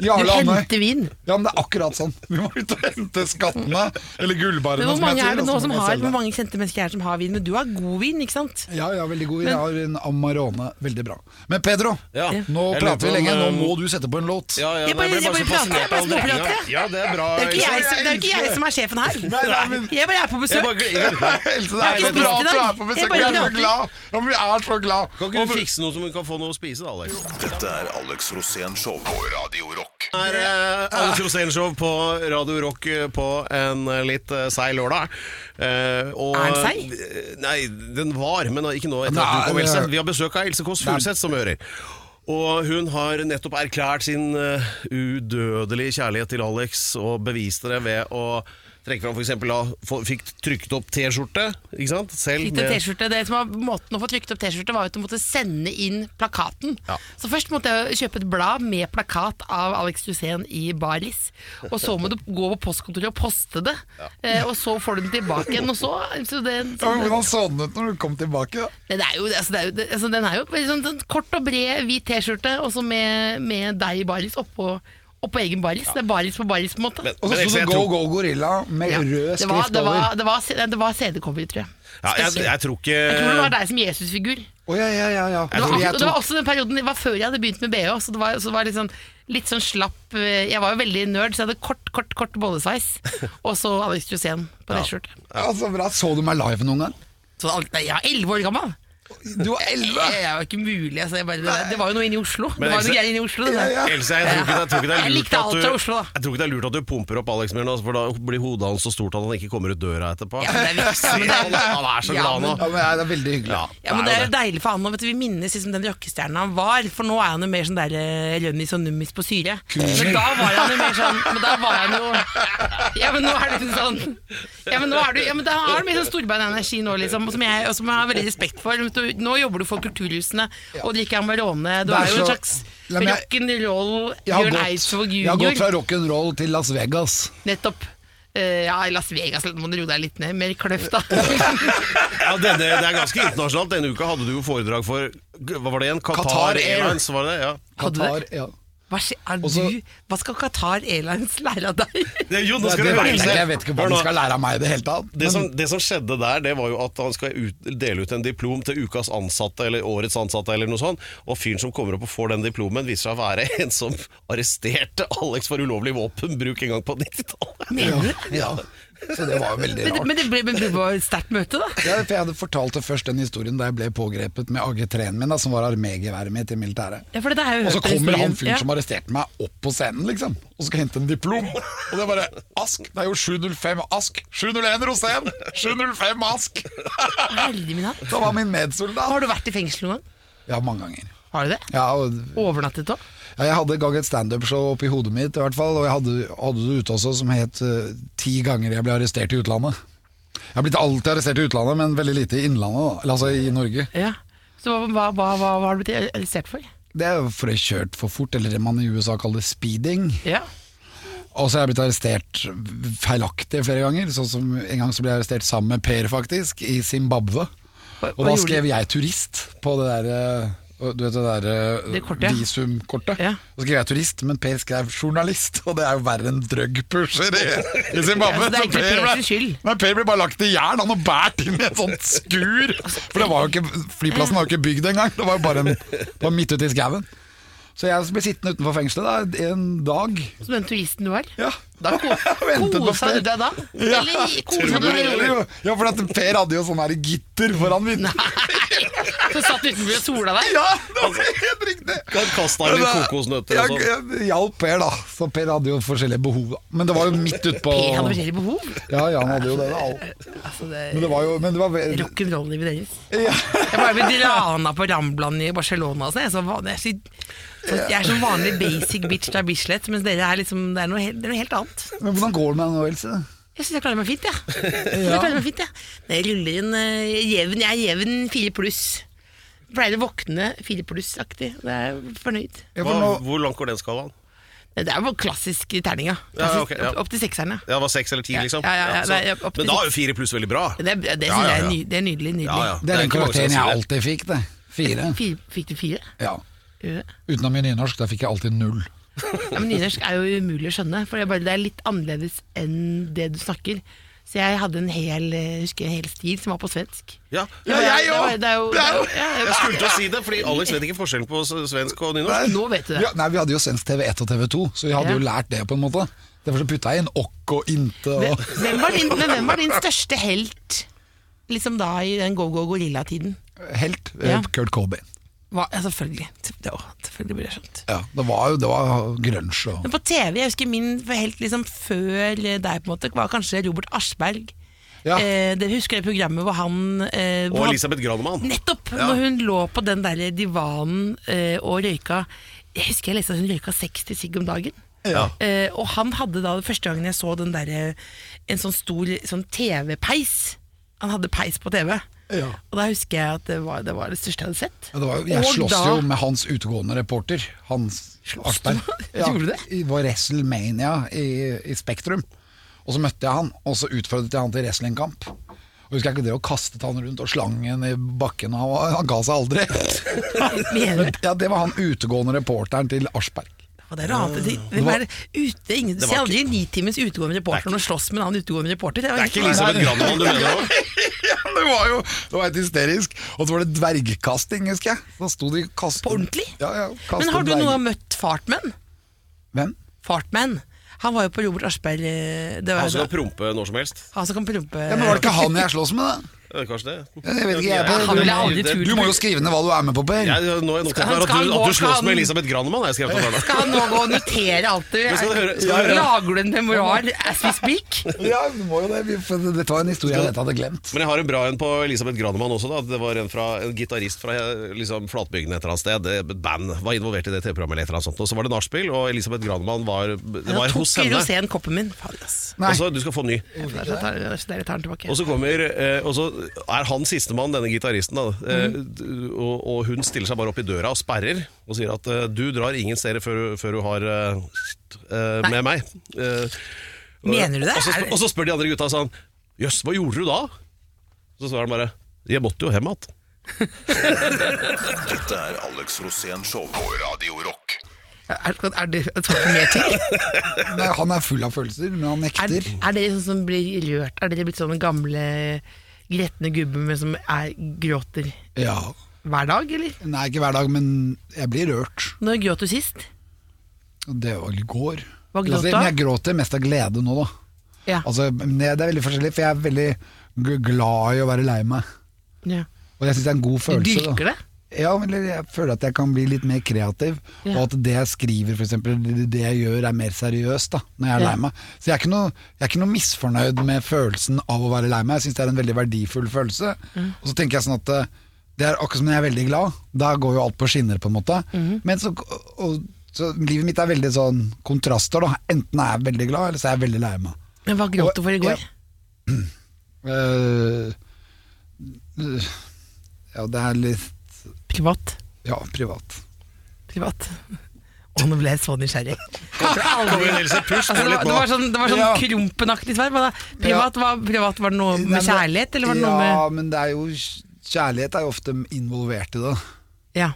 F: Du
E: Jarle Andøy.
F: henter vin.
E: Ja, men det er akkurat sånn. Vi må ut og hente skattene, eller
F: Men
E: gullbarene, sånn
F: hvor
E: som jeg
F: mange
E: sier.
F: er det
E: og så
F: nå
E: må
F: som
E: man
F: har
E: selge.
F: Hvor mange kjente mennesker er det som har vin? Men du har god vin, ikke sant?
E: Ja, ja, veldig god. Jeg har en Amarone. Veldig bra. Men Pedro,
C: Ja.
E: nå
C: Jeg lurer
E: prater vi
C: på om,
E: lenge. Nå
C: eh,
E: må du sette på en låt.
C: Ja, ja,
F: Jeg
C: nei,
F: bare- jeg
C: så
F: bare prater, jeg
C: fascinert
F: bare
C: av all
F: småprater,
C: drikken.
F: jeg.
C: Ja, det er bra.
F: Det er jo ikke,
C: Else.
F: jeg som- det er jo ikke jeg som er sjefen her.
E: nei, men-
F: Jeg bare er på
C: Jeg
F: besøk.
C: bare gleder meg.
E: Else,
F: Jeg har ikke
E: så bra at
F: spist i
E: du
F: dag.
E: er på besøk.
F: Jeg bare
E: Vi er så
F: prater.
E: glad. Ja, men vi er så glad.
C: Kan ikke du fikse noe som vi kan få noe å spise, da, Alex?
B: Dette er Alex Rosén Show på Radio Rock.
C: Det er eh, Alex Rosénshow på Radio Rock eh, på en eh, litt eh, seig lørdag. Eh, og,
F: Er den seig?
C: eh, Nei, den var, men ikke nå. etter
E: Nei,
C: at du kom,
E: det-
C: Else. Vi har besøk av Else Kåss Furuseth, som hører. Og hun har nettopp erklært sin eh, udødelige kjærlighet til Alex og beviste det ved å trekke fram f.eks. da få- fikk trykt opp T-skjorte, ikke sant? Selv
F: Fikk en T-skjorte. Det som var måten å få trykt opp T-skjorte, var at du måtte sende inn plakaten.
C: Ja.
F: Så først måtte jeg kjøpe et blad med plakat av Alex Hussein i baris. Og så må du gå på postkontoret og poste det. Eh, og så får du den tilbake igjen, og så, så, det,
E: Ja, men Hvordan så den ut når du kom tilbake? da?
F: Men det er jo, altså, det er jo, det, altså, Den er jo veldig sånn, sånn kort og bred hvit T-skjorte, og så med, med deg i baris oppå, oppå egen baris. Det er baris på baris, på en måte.
C: Men-
E: Og så
C: Else,
E: sto det
C: jeg
E: Go
C: tror-
E: Go Gorilla med
F: Ja.
E: rød
F: Det
E: skrift
F: var, det
E: over.
F: var, det var, det var CD-cover, tror jeg.
C: Ja, jeg, jeg tror ikke
F: Jeg tror det var deg som Jesus-figur.
E: Å ja, ja, ja, ja.
F: Det var,
E: Fordi jeg
F: og det var
E: tok-
F: også den perioden, det var før jeg hadde begynt med BH, så det var, så det var litt, sånn, litt sånn slapp eh, Jeg var jo veldig nerd, så jeg hadde kort, kort, kort bollesveis. Og så Alex Josén på T-skjorte.
E: Ja, så Altså, bra. Så du meg live noen gang?
F: Så alt- nei, jeg var elleve år gammel!
E: Du var elleve!
F: Jeg var ikke mulig, altså. Jeg bare, det, det var jo noe inne i Oslo. Det
C: Men
F: var jo
C: Else-
F: noe greier inne i Oslo. Det der.
C: Else, jeg tror ikke, jeg tror ikke det er
F: Jeg
C: lurt
F: likte
C: at
F: alt
C: du,
F: fra Oslo, da.
C: Jeg tror ikke det er lurt at du pumper opp Alex Myhren, altså, for da blir hodet hans så stort at han ikke kommer ut døra etterpå.
F: Ja, men det er viktig, men det
C: han,
F: er-
C: han er så
F: Ja,
C: glad nå.
F: men-
E: Ja, men jeg- Det er veldig hyggelig.
C: Ja,
F: Ja, men Det er jo
C: det.
F: deilig for han nå, vet du, Vi minnes liksom den rockestjernen han var. For nå er han jo mer sånn der eh, Rønnis og Nummis på syre. Men da var han jo mer sånn Men da var han jo Ja, men nå er det litt sånn Ja, men nå er du Ja, men da har du mye sånn storbein-energi nå, liksom, og som jeg, og som jeg har veldig respekt for. Du- Nå jobber du for kulturhusene og drikker Amarone. Du
E: Det er
F: er jo en
E: så-
F: slags
E: Nei, men jeg-
F: rock'n'roll
E: Jeg har,
F: Bjørn
E: gått,
F: Eidsvåg
E: jeg har gått fra
F: junior.
E: rock'n'roll til Las Vegas.
F: Nettopp. Eh, ja, i Las Vegas nå må du roe deg litt ned. Mer kløft, da.
C: Ja, denne, det er ganske internasjonalt. Denne uka hadde du jo foredrag for Hva var det igjen? Qatar,
E: Qatar Air.
C: Airlines, var det det? Ja.
F: Hadde du
E: Qatar,
F: det?
E: ja.
F: Hva, skje, er
E: Og så-
F: du, hva skal Qatar Airlines lære av deg?
C: Det, jo, nå
E: Det,
C: skal
E: det,
C: du
E: vet
C: høre.
E: jeg ikke. jeg vet ikke hva
C: Hør
E: de
C: nå.
E: skal lære av meg i det hele tatt.
C: Det som, det som skjedde der, det var jo at han skal ut, dele ut en diplom til ukas ansatte, eller årets ansatte, eller noe sånt, og fyren som kommer opp og får den diplomen, viser seg å være en som arresterte Alex for ulovlig våpenbruk en gang på 90-tallet.
F: Mener du?
E: Ja, så det var jo veldig
F: Men, det-
E: rart.
F: men det ble, men det var et sterkt møte, da.
E: Ja, for jeg hadde fortalt det først den historien da jeg ble pågrepet med AG3-en min, da, som var armégeværet mitt i militæret.
F: Ja, for det har jeg
E: Og så
F: hørt
E: kommer han
F: historien.
E: fyren
F: Ja.
E: som arresterte meg, opp på scenen, liksom, og skal hente en diplom. Og det er bare Ask! Det er jo 705 Ask! 701 Rosén! 705 Ask!
F: Herre min hatt.
E: Da var min medsoldat.
F: Har du vært i fengsel noen gang?
E: Ja, mange ganger.
F: Har du det?
E: Ja, og
F: Overnattet òg?
E: Ja, Jeg hadde en gang et standup-show oppi hodet mitt, i hvert fall, og jeg hadde, hadde det ute også, som het eh, 'Ti ganger jeg ble arrestert i utlandet'. Jeg har blitt alltid arrestert i utlandet, men veldig lite i innlandet, da. Eller, altså i Norge.
F: Ja. Så hva, hva, hva, hva hva har du blitt arrestert for?
E: Det er jo for jeg har kjørt for fort, eller det man i USA kaller speeding.
F: Ja.
E: Og så har jeg blitt arrestert feilaktig flere ganger, sånn som en gang så ble jeg arrestert sammen med Per, faktisk, i Zimbabwe.
F: Hva-
E: Og
F: hva
E: da
F: gjorde
E: skrev jeg 'turist' på det derre du vet det der eh,
F: Det kortet, ja.
E: visumkortet?
F: Ja.
E: Så skrev jeg turist, men Per skrev journalist, og det er jo verre enn drugpusher i, i
F: Ja,
E: Zimbabwe.
F: så det
E: Så
F: er egentlig
E: Per ble-
F: Pers skyld.
E: Nei, Per ble bare lagt i jern, han og båret inn i et sånt skur. For det var jo ikke, flyplassen var jo ikke bygd engang, det var jo bare en, det var midt ute i skauen. Så jeg ble sittende utenfor fengselet da, en dag.
F: Som den turisten du var?
E: Ja.
F: Da ko
E: ventet på
F: kosa
E: flere.
F: du deg da?
E: Ja.
F: Eller kosa
E: Ja,
F: du
E: men
F: deg?
E: det gjorde jo- ja, for at Per hadde jo sånn her gitter foran vinduet.
F: Så satt du utenfor og sola deg?
E: Ja, det var helt riktig! eh,
C: Han kastet inn litt kokosnøtter og
E: Jeg-
C: sånn.
E: jeg hjalp Per, da. Så Per hadde jo forskjellige behov. da. Men det var jo midt
F: Per hadde
E: utpå
F: forskjellige behov.
E: Ja, ja, han hadde jo det. da.
F: Altså, det
E: Men det var jo men det var, ve-
F: Rock'n'roll-livet deres.
E: ja.
F: Jeg bare blir rana på Ramblan i Barcelona. og sånn. Jeg, er så van- jeg, er så, så- jeg er som vanlig basic bitch fra Bislett, mens dere er liksom Det er noe, helt- det er noe helt annet.
E: Men hvordan går det med deg nå, Else?
F: Jeg syns jeg klarer meg fint, jeg. Ja. Jeg klarer meg fint, jeg. Når jeg ruller inn eh, jevn, jeg er jevn fire pluss. Pleier å våkne fire pluss-aktig. Da er jeg fornøyd.
E: Ja, for
C: Hva,
E: nå,
C: hvor langt går den skalaen?
F: Det er jo klassisk i terninga.
C: Ja,
F: Klassisk,
C: ok, ja.
F: opp- Opp til sekseren, ja.
C: Ja, det var seks eller ti,
F: Ja,
C: liksom?
F: ja, ja, ja,
C: så-
F: det er opp til
C: Men da
F: seks.
C: er jo fire pluss veldig bra.
F: Det, det, det
C: Ja,
F: syns
C: ja,
F: jeg er,
C: ja.
F: ny, det er nydelig. nydelig.
C: Ja, ja.
E: det er den
C: ikke mange som
E: karakteren jeg
C: sier det.
E: alltid fikk, det. Fire.
F: Fire, fikk du fire?
E: Ja.
F: Gjorde du det?
E: Utenom i nynorsk, der fikk jeg alltid null.
F: Ja, men Nynorsk er jo umulig å skjønne, for det er, bare, det er litt annerledes enn det du snakker. Så jeg hadde en hel, eh, husker jeg, en hel stil som var på svensk.
C: Ja,
F: Ja,
C: ja,
F: det
C: jeg
F: var-
C: òg!
F: det er jo- det er jo- ja,
C: Jeg
F: ja.
C: skulle til å si det, fordi Alex vet ikke forskjellen på s- svensk og nynorsk.
F: Nå vet du det.
E: Ja, nei, vi hadde jo svensk TV1 og TV2, så vi hadde jo
F: Ja.
E: lært det, på en måte. Derfor så putta jeg inn okk og inte og
F: Hvem var din, men hvem var din største helt liksom da i den go-go-gorilla-tiden?
E: helt. eh,
F: Ja.
E: Kurt Colby.
F: Hva- Ja, selvfølgelig. Det, å, selvfølgelig blir det skjønt.
E: Ja, det var jo det var grunge og
F: Men på TV, jeg husker min for helt liksom før deg, på en måte, var kanskje Robert Aschberg.
E: Ja.
F: Eh, dere husker det programmet hvor han eh,
C: Og
F: hvor han-
C: Elisabeth Granemann.
F: Nettopp! Når hun lå på den der divanen eh, og røyka Jeg husker jeg leste at hun røyka 60 sigg om dagen.
C: Ja.
F: Eh, og han hadde da første gangen jeg så den der, eh, en sånn stor sånn TV-peis. Han hadde peis på TV.
E: Ja.
F: Og da husker jeg at det var det, var det største jeg hadde sett.
E: Ja, det var, jo- jeg
F: Og
E: slåss
F: da-
E: jo med hans utegående reporter, Hans Aschberg.
F: du? Gjorde du det?
E: I var WrestleMania i, i Spektrum. Og så møtte jeg han, og så utfordret jeg han til wrestlingkamp. Og husker jeg ikke det å kastet han rundt og slangen i bakken, og han, var- han ga seg
F: Mener
E: aldri.
F: du?
E: ja, det var han utegående reporteren til Aschberg.
F: Og det er noe annet. Det, hvem er det ute? Ingen, du ser aldri en nitimens utegående reporter når du slåss med en annen utegående reporter. Det, var
C: Det er ikke
F: litt-
C: Elisabeth Granemann du mener òg?
E: ja, det var jo det var helt hysterisk. Og så var det dvergkasting, husker jeg. Da sto de og kastet
F: På ordentlig?
E: Ja, ja, kastet
F: Men har du
E: dverg-
F: noen gang møtt fartmenn?
E: Hvem?
F: Fartmenn. Han var jo på Robert Aschberg eh, det var
C: Han
F: jo
C: som
F: da-
C: kan prompe når som helst.
F: Han som kan prompe
E: Ja, men var det ikke han jeg slåss med, da?
C: Eh, Kanskje det?
E: Jeg vet ikke, jeg,
F: Han ville aldri
C: Det-
F: tro
E: Du må jo skrive ned hva du er med på, Per.
C: Jeg, nå er jeg nok
F: Skal-
C: klar at,
F: skal han
C: du-
F: gå-
C: at du
F: skal
C: slåss med
F: han-
C: Elisabeth Granemann. har Jeg skrevet opp her nå.
F: Skal han nå gå og notere alt du
C: Men skal du høre- skal du høre-
F: Lager du en memoar as we speak?
E: Ja, du må jo det. vi- for Dette var en historie jeg vet jeg hadde glemt.
C: Men jeg har en bra en på Elisabeth Granemann også. da Det var en, fra, en gitarist fra eh, liksom, Flatbygden et eller annet sted. Det- Et band var involvert i det TV-programmet. eller et eller annet sånt Og så var det nachspiel, og Elisabeth Granemann var, det
F: Nå
C: var
F: tok
C: hos henne.
F: Rosén koppen min. Faen, ass.
E: Nei.
C: Og så Du skal få ny.
F: Jeg tar- jeg tar- jeg tar den tilbake.
C: Og så kommer eh, Og så er han sistemann, denne gitaristen. da eh,
F: Mhm.
C: d- og, og hun stiller seg bare opp i døra og sperrer og sier at eh, du drar ingen steder før, før du har eh, eh, med meg. Eh, og-
F: Mener du det?
C: Og så, sp- og så spør de andre gutta sånn Jøss, hva gjorde du da? Så svarer han bare Jeg måtte jo hjem igjen.
B: Dette er Alex Rosén Show på Radio Rock.
F: Er, er det et svar på mer ting?
E: Nei, han er full av følelser, men han
F: Er,
E: nekter.
F: er dere sånn som blir rørt? Er dere blitt sånne gamle gretne gubber med- som er, gråter
E: Ja.
F: hver dag, eller?
E: Nei, ikke hver dag, men jeg blir rørt.
F: Når gråt du sist?
E: Og Det var i går.
F: Hva gråt
E: altså,
F: du av?
E: men jeg gråter mest av glede nå, da.
F: Ja.
E: Altså, men det er veldig forskjellig, for jeg er veldig g- glad i å være lei meg.
F: ja.
E: Og jeg syns det er en god
F: Du
E: følelse. da.
F: dyrker det?
E: Ja, eller jeg føler at jeg kan bli litt mer kreativ,
F: Ja.
E: og at det jeg skriver, for eksempel, det- det jeg gjør, er mer seriøst da, når jeg er
F: Ja.
E: lei meg. Så jeg er, ikke noe, jeg er ikke noe misfornøyd med følelsen av å være lei meg. Jeg syns det er en veldig verdifull følelse.
F: Mm.
E: Og så tenker jeg sånn at eh, det er akkurat som når jeg er veldig glad, da går jo alt på skinner, på en måte.
F: Mm.
E: Men så, og, så livet mitt er veldig sånn kontraster, da. Enten er jeg veldig glad, eller så er jeg veldig lei meg.
F: Men hva gråt du for i går?
E: Eh, eh, ja, det er litt
F: Privat.
E: Ja, privat.
F: Privat. Å, nå ble jeg så nysgjerrig. Kommer aldri-
C: Kommer Nilsen, push på
F: Altså, det,
C: litt nå.
F: var, det var sånn, det var sånn
E: Ja.
F: krumpenaktig svar. hva da? Privat, var, privat, var det noe
E: Nei,
F: med
E: men-
F: kjærlighet, eller var det noe med
E: Ja, men det er jo Kjærlighet er jo ofte involvert i det.
F: Ja.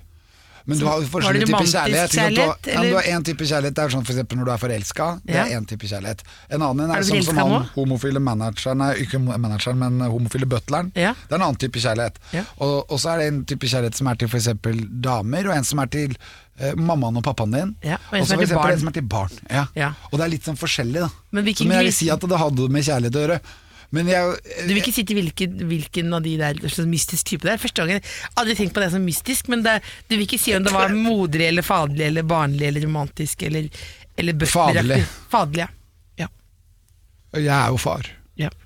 E: Men du har jo
F: Var
E: forskjellige
F: det
E: typer
F: romantisk
E: kjærlighet. ikke sant? Du har-
F: kjærlighet,
E: ja, men du har
F: eller?
E: én type kjærlighet, det er sånn for eksempel når du er forelska. Det
F: Ja.
E: er én type kjærlighet. En annen en
F: Er
E: er
F: du
E: sånn som
F: forelska
E: han
F: nå?
E: homofile manageren, nei, ikke homo- manageren, men homofile butleren.
F: Ja.
E: Det er en annen type kjærlighet.
F: Ja.
E: Og, og så er det en type kjærlighet som er til for eksempel damer, og en som er til eh, mammaen og pappaen din.
F: Ja, og en
E: så
F: som er
E: for
F: til
E: eksempel
F: barn.
E: en som er til barn. Ja.
F: Ja.
E: Og det er litt sånn forskjellig, da.
F: Men hvilken
E: så, men jeg vil
F: glis-
E: si at det hadde med kjærlighet å gjøre. Men jeg,
F: Du vil ikke si til hvilken, hvilken av de der slags mystisk type det er? Første gangen, Aldri tenkt på det som mystisk, men det, du vil ikke si om det var moderlig eller faderlig eller barnlig eller romantisk eller, eller butleraktig.
E: Faderlig.
F: Faderlig, ja.
E: jeg er jo far.
F: ja. ja.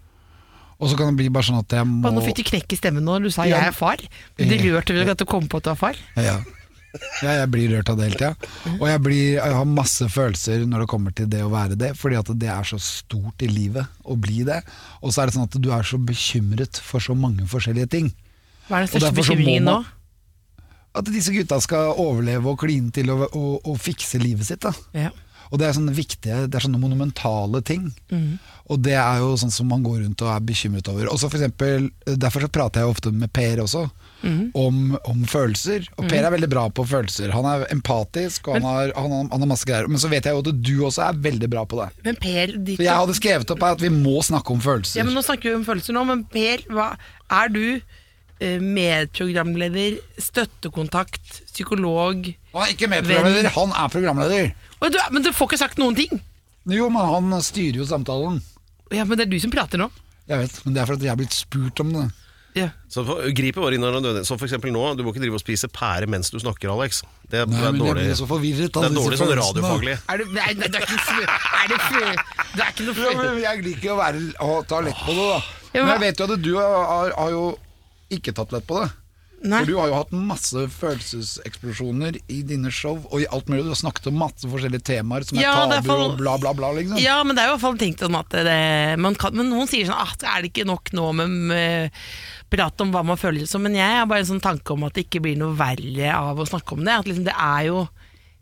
E: Og så kan det bli bare sånn at jeg må
F: Og nå fikk du knekk i stemmen når du sa
E: Ja.
F: 'jeg er far'. Ble du rørt over at du kom på at du var far?
E: ja. ja, jeg blir rørt av det hele tida. Og jeg, blir, jeg har masse følelser når det kommer til det å være det, fordi at det er så stort i livet å bli det. Og så er det sånn at du er så bekymret for så mange forskjellige ting.
F: Hva er den
E: Og
F: største
E: derfor så må
F: bekymringen nå?
E: man- At disse gutta skal overleve og kline til og, og, og fikse livet sitt. da
F: Ja.
E: Og det er sånne viktige, det er sånne monumentale ting.
F: Mm.
E: Og det er jo sånn som man går rundt og er bekymret over. Og så for eksempel, Derfor så prater jeg ofte med Per også,
F: Mm.
E: om, om følelser. Og Per er veldig bra på følelser. Han er empatisk, og han, har, han, har, han har masse greier. Men så vet jeg jo at du også er veldig bra på det.
F: Men Per, ditt
E: For jeg hadde skrevet opp her at vi må snakke om følelser.
F: Ja, men Nå snakker vi om følelser nå, men Per, hva, er du eh, medprogramleder, støttekontakt, psykolog
E: Han er ikke medprogramleder,
F: Venn.
E: han er programleder.
F: Å, du, Men du får ikke sagt noen ting!
E: Jo, men han styrer jo samtalen.
F: Ja, Men det er du som prater nå.
E: Jeg vet, men det er fordi jeg er blitt spurt om det.
F: Ja.
C: Så for- gripet var inn når det er nødvendig. Som for eksempel nå, du må ikke drive og spise pære mens du snakker, Alex. Det er,
E: Nei,
C: det er
E: men jeg
C: dårlig,
E: blir så forvirret av
C: det er
E: disse
C: dårlig sånn
E: følelsene.
C: radiofaglig.
F: Er du Nei, nei, det er ikke fø- er det fø- Det er ikke noe
E: Ja,
F: fø-
E: men jeg liker jo å, være, å ta lett på det, da.
F: Ja,
E: Men
F: men-
E: jeg vet jo at du har, har jo ikke tatt lett på det.
F: Nei.
E: For du har jo hatt masse følelseseksplosjoner i dine show og i alt mulig. Du har snakket om masse forskjellige temaer som er
F: Ja, det er
E: tabu
F: for-
E: og bla, bla, bla, liksom.
F: Ja, men det er jo i hvert fall tenkt sånn at det, man kan, Men noen sier sånn at er det ikke nok nå med, med prat om hva man føler som Men jeg har bare en sånn tanke om at det ikke blir noe verre av å snakke om det. At liksom det er jo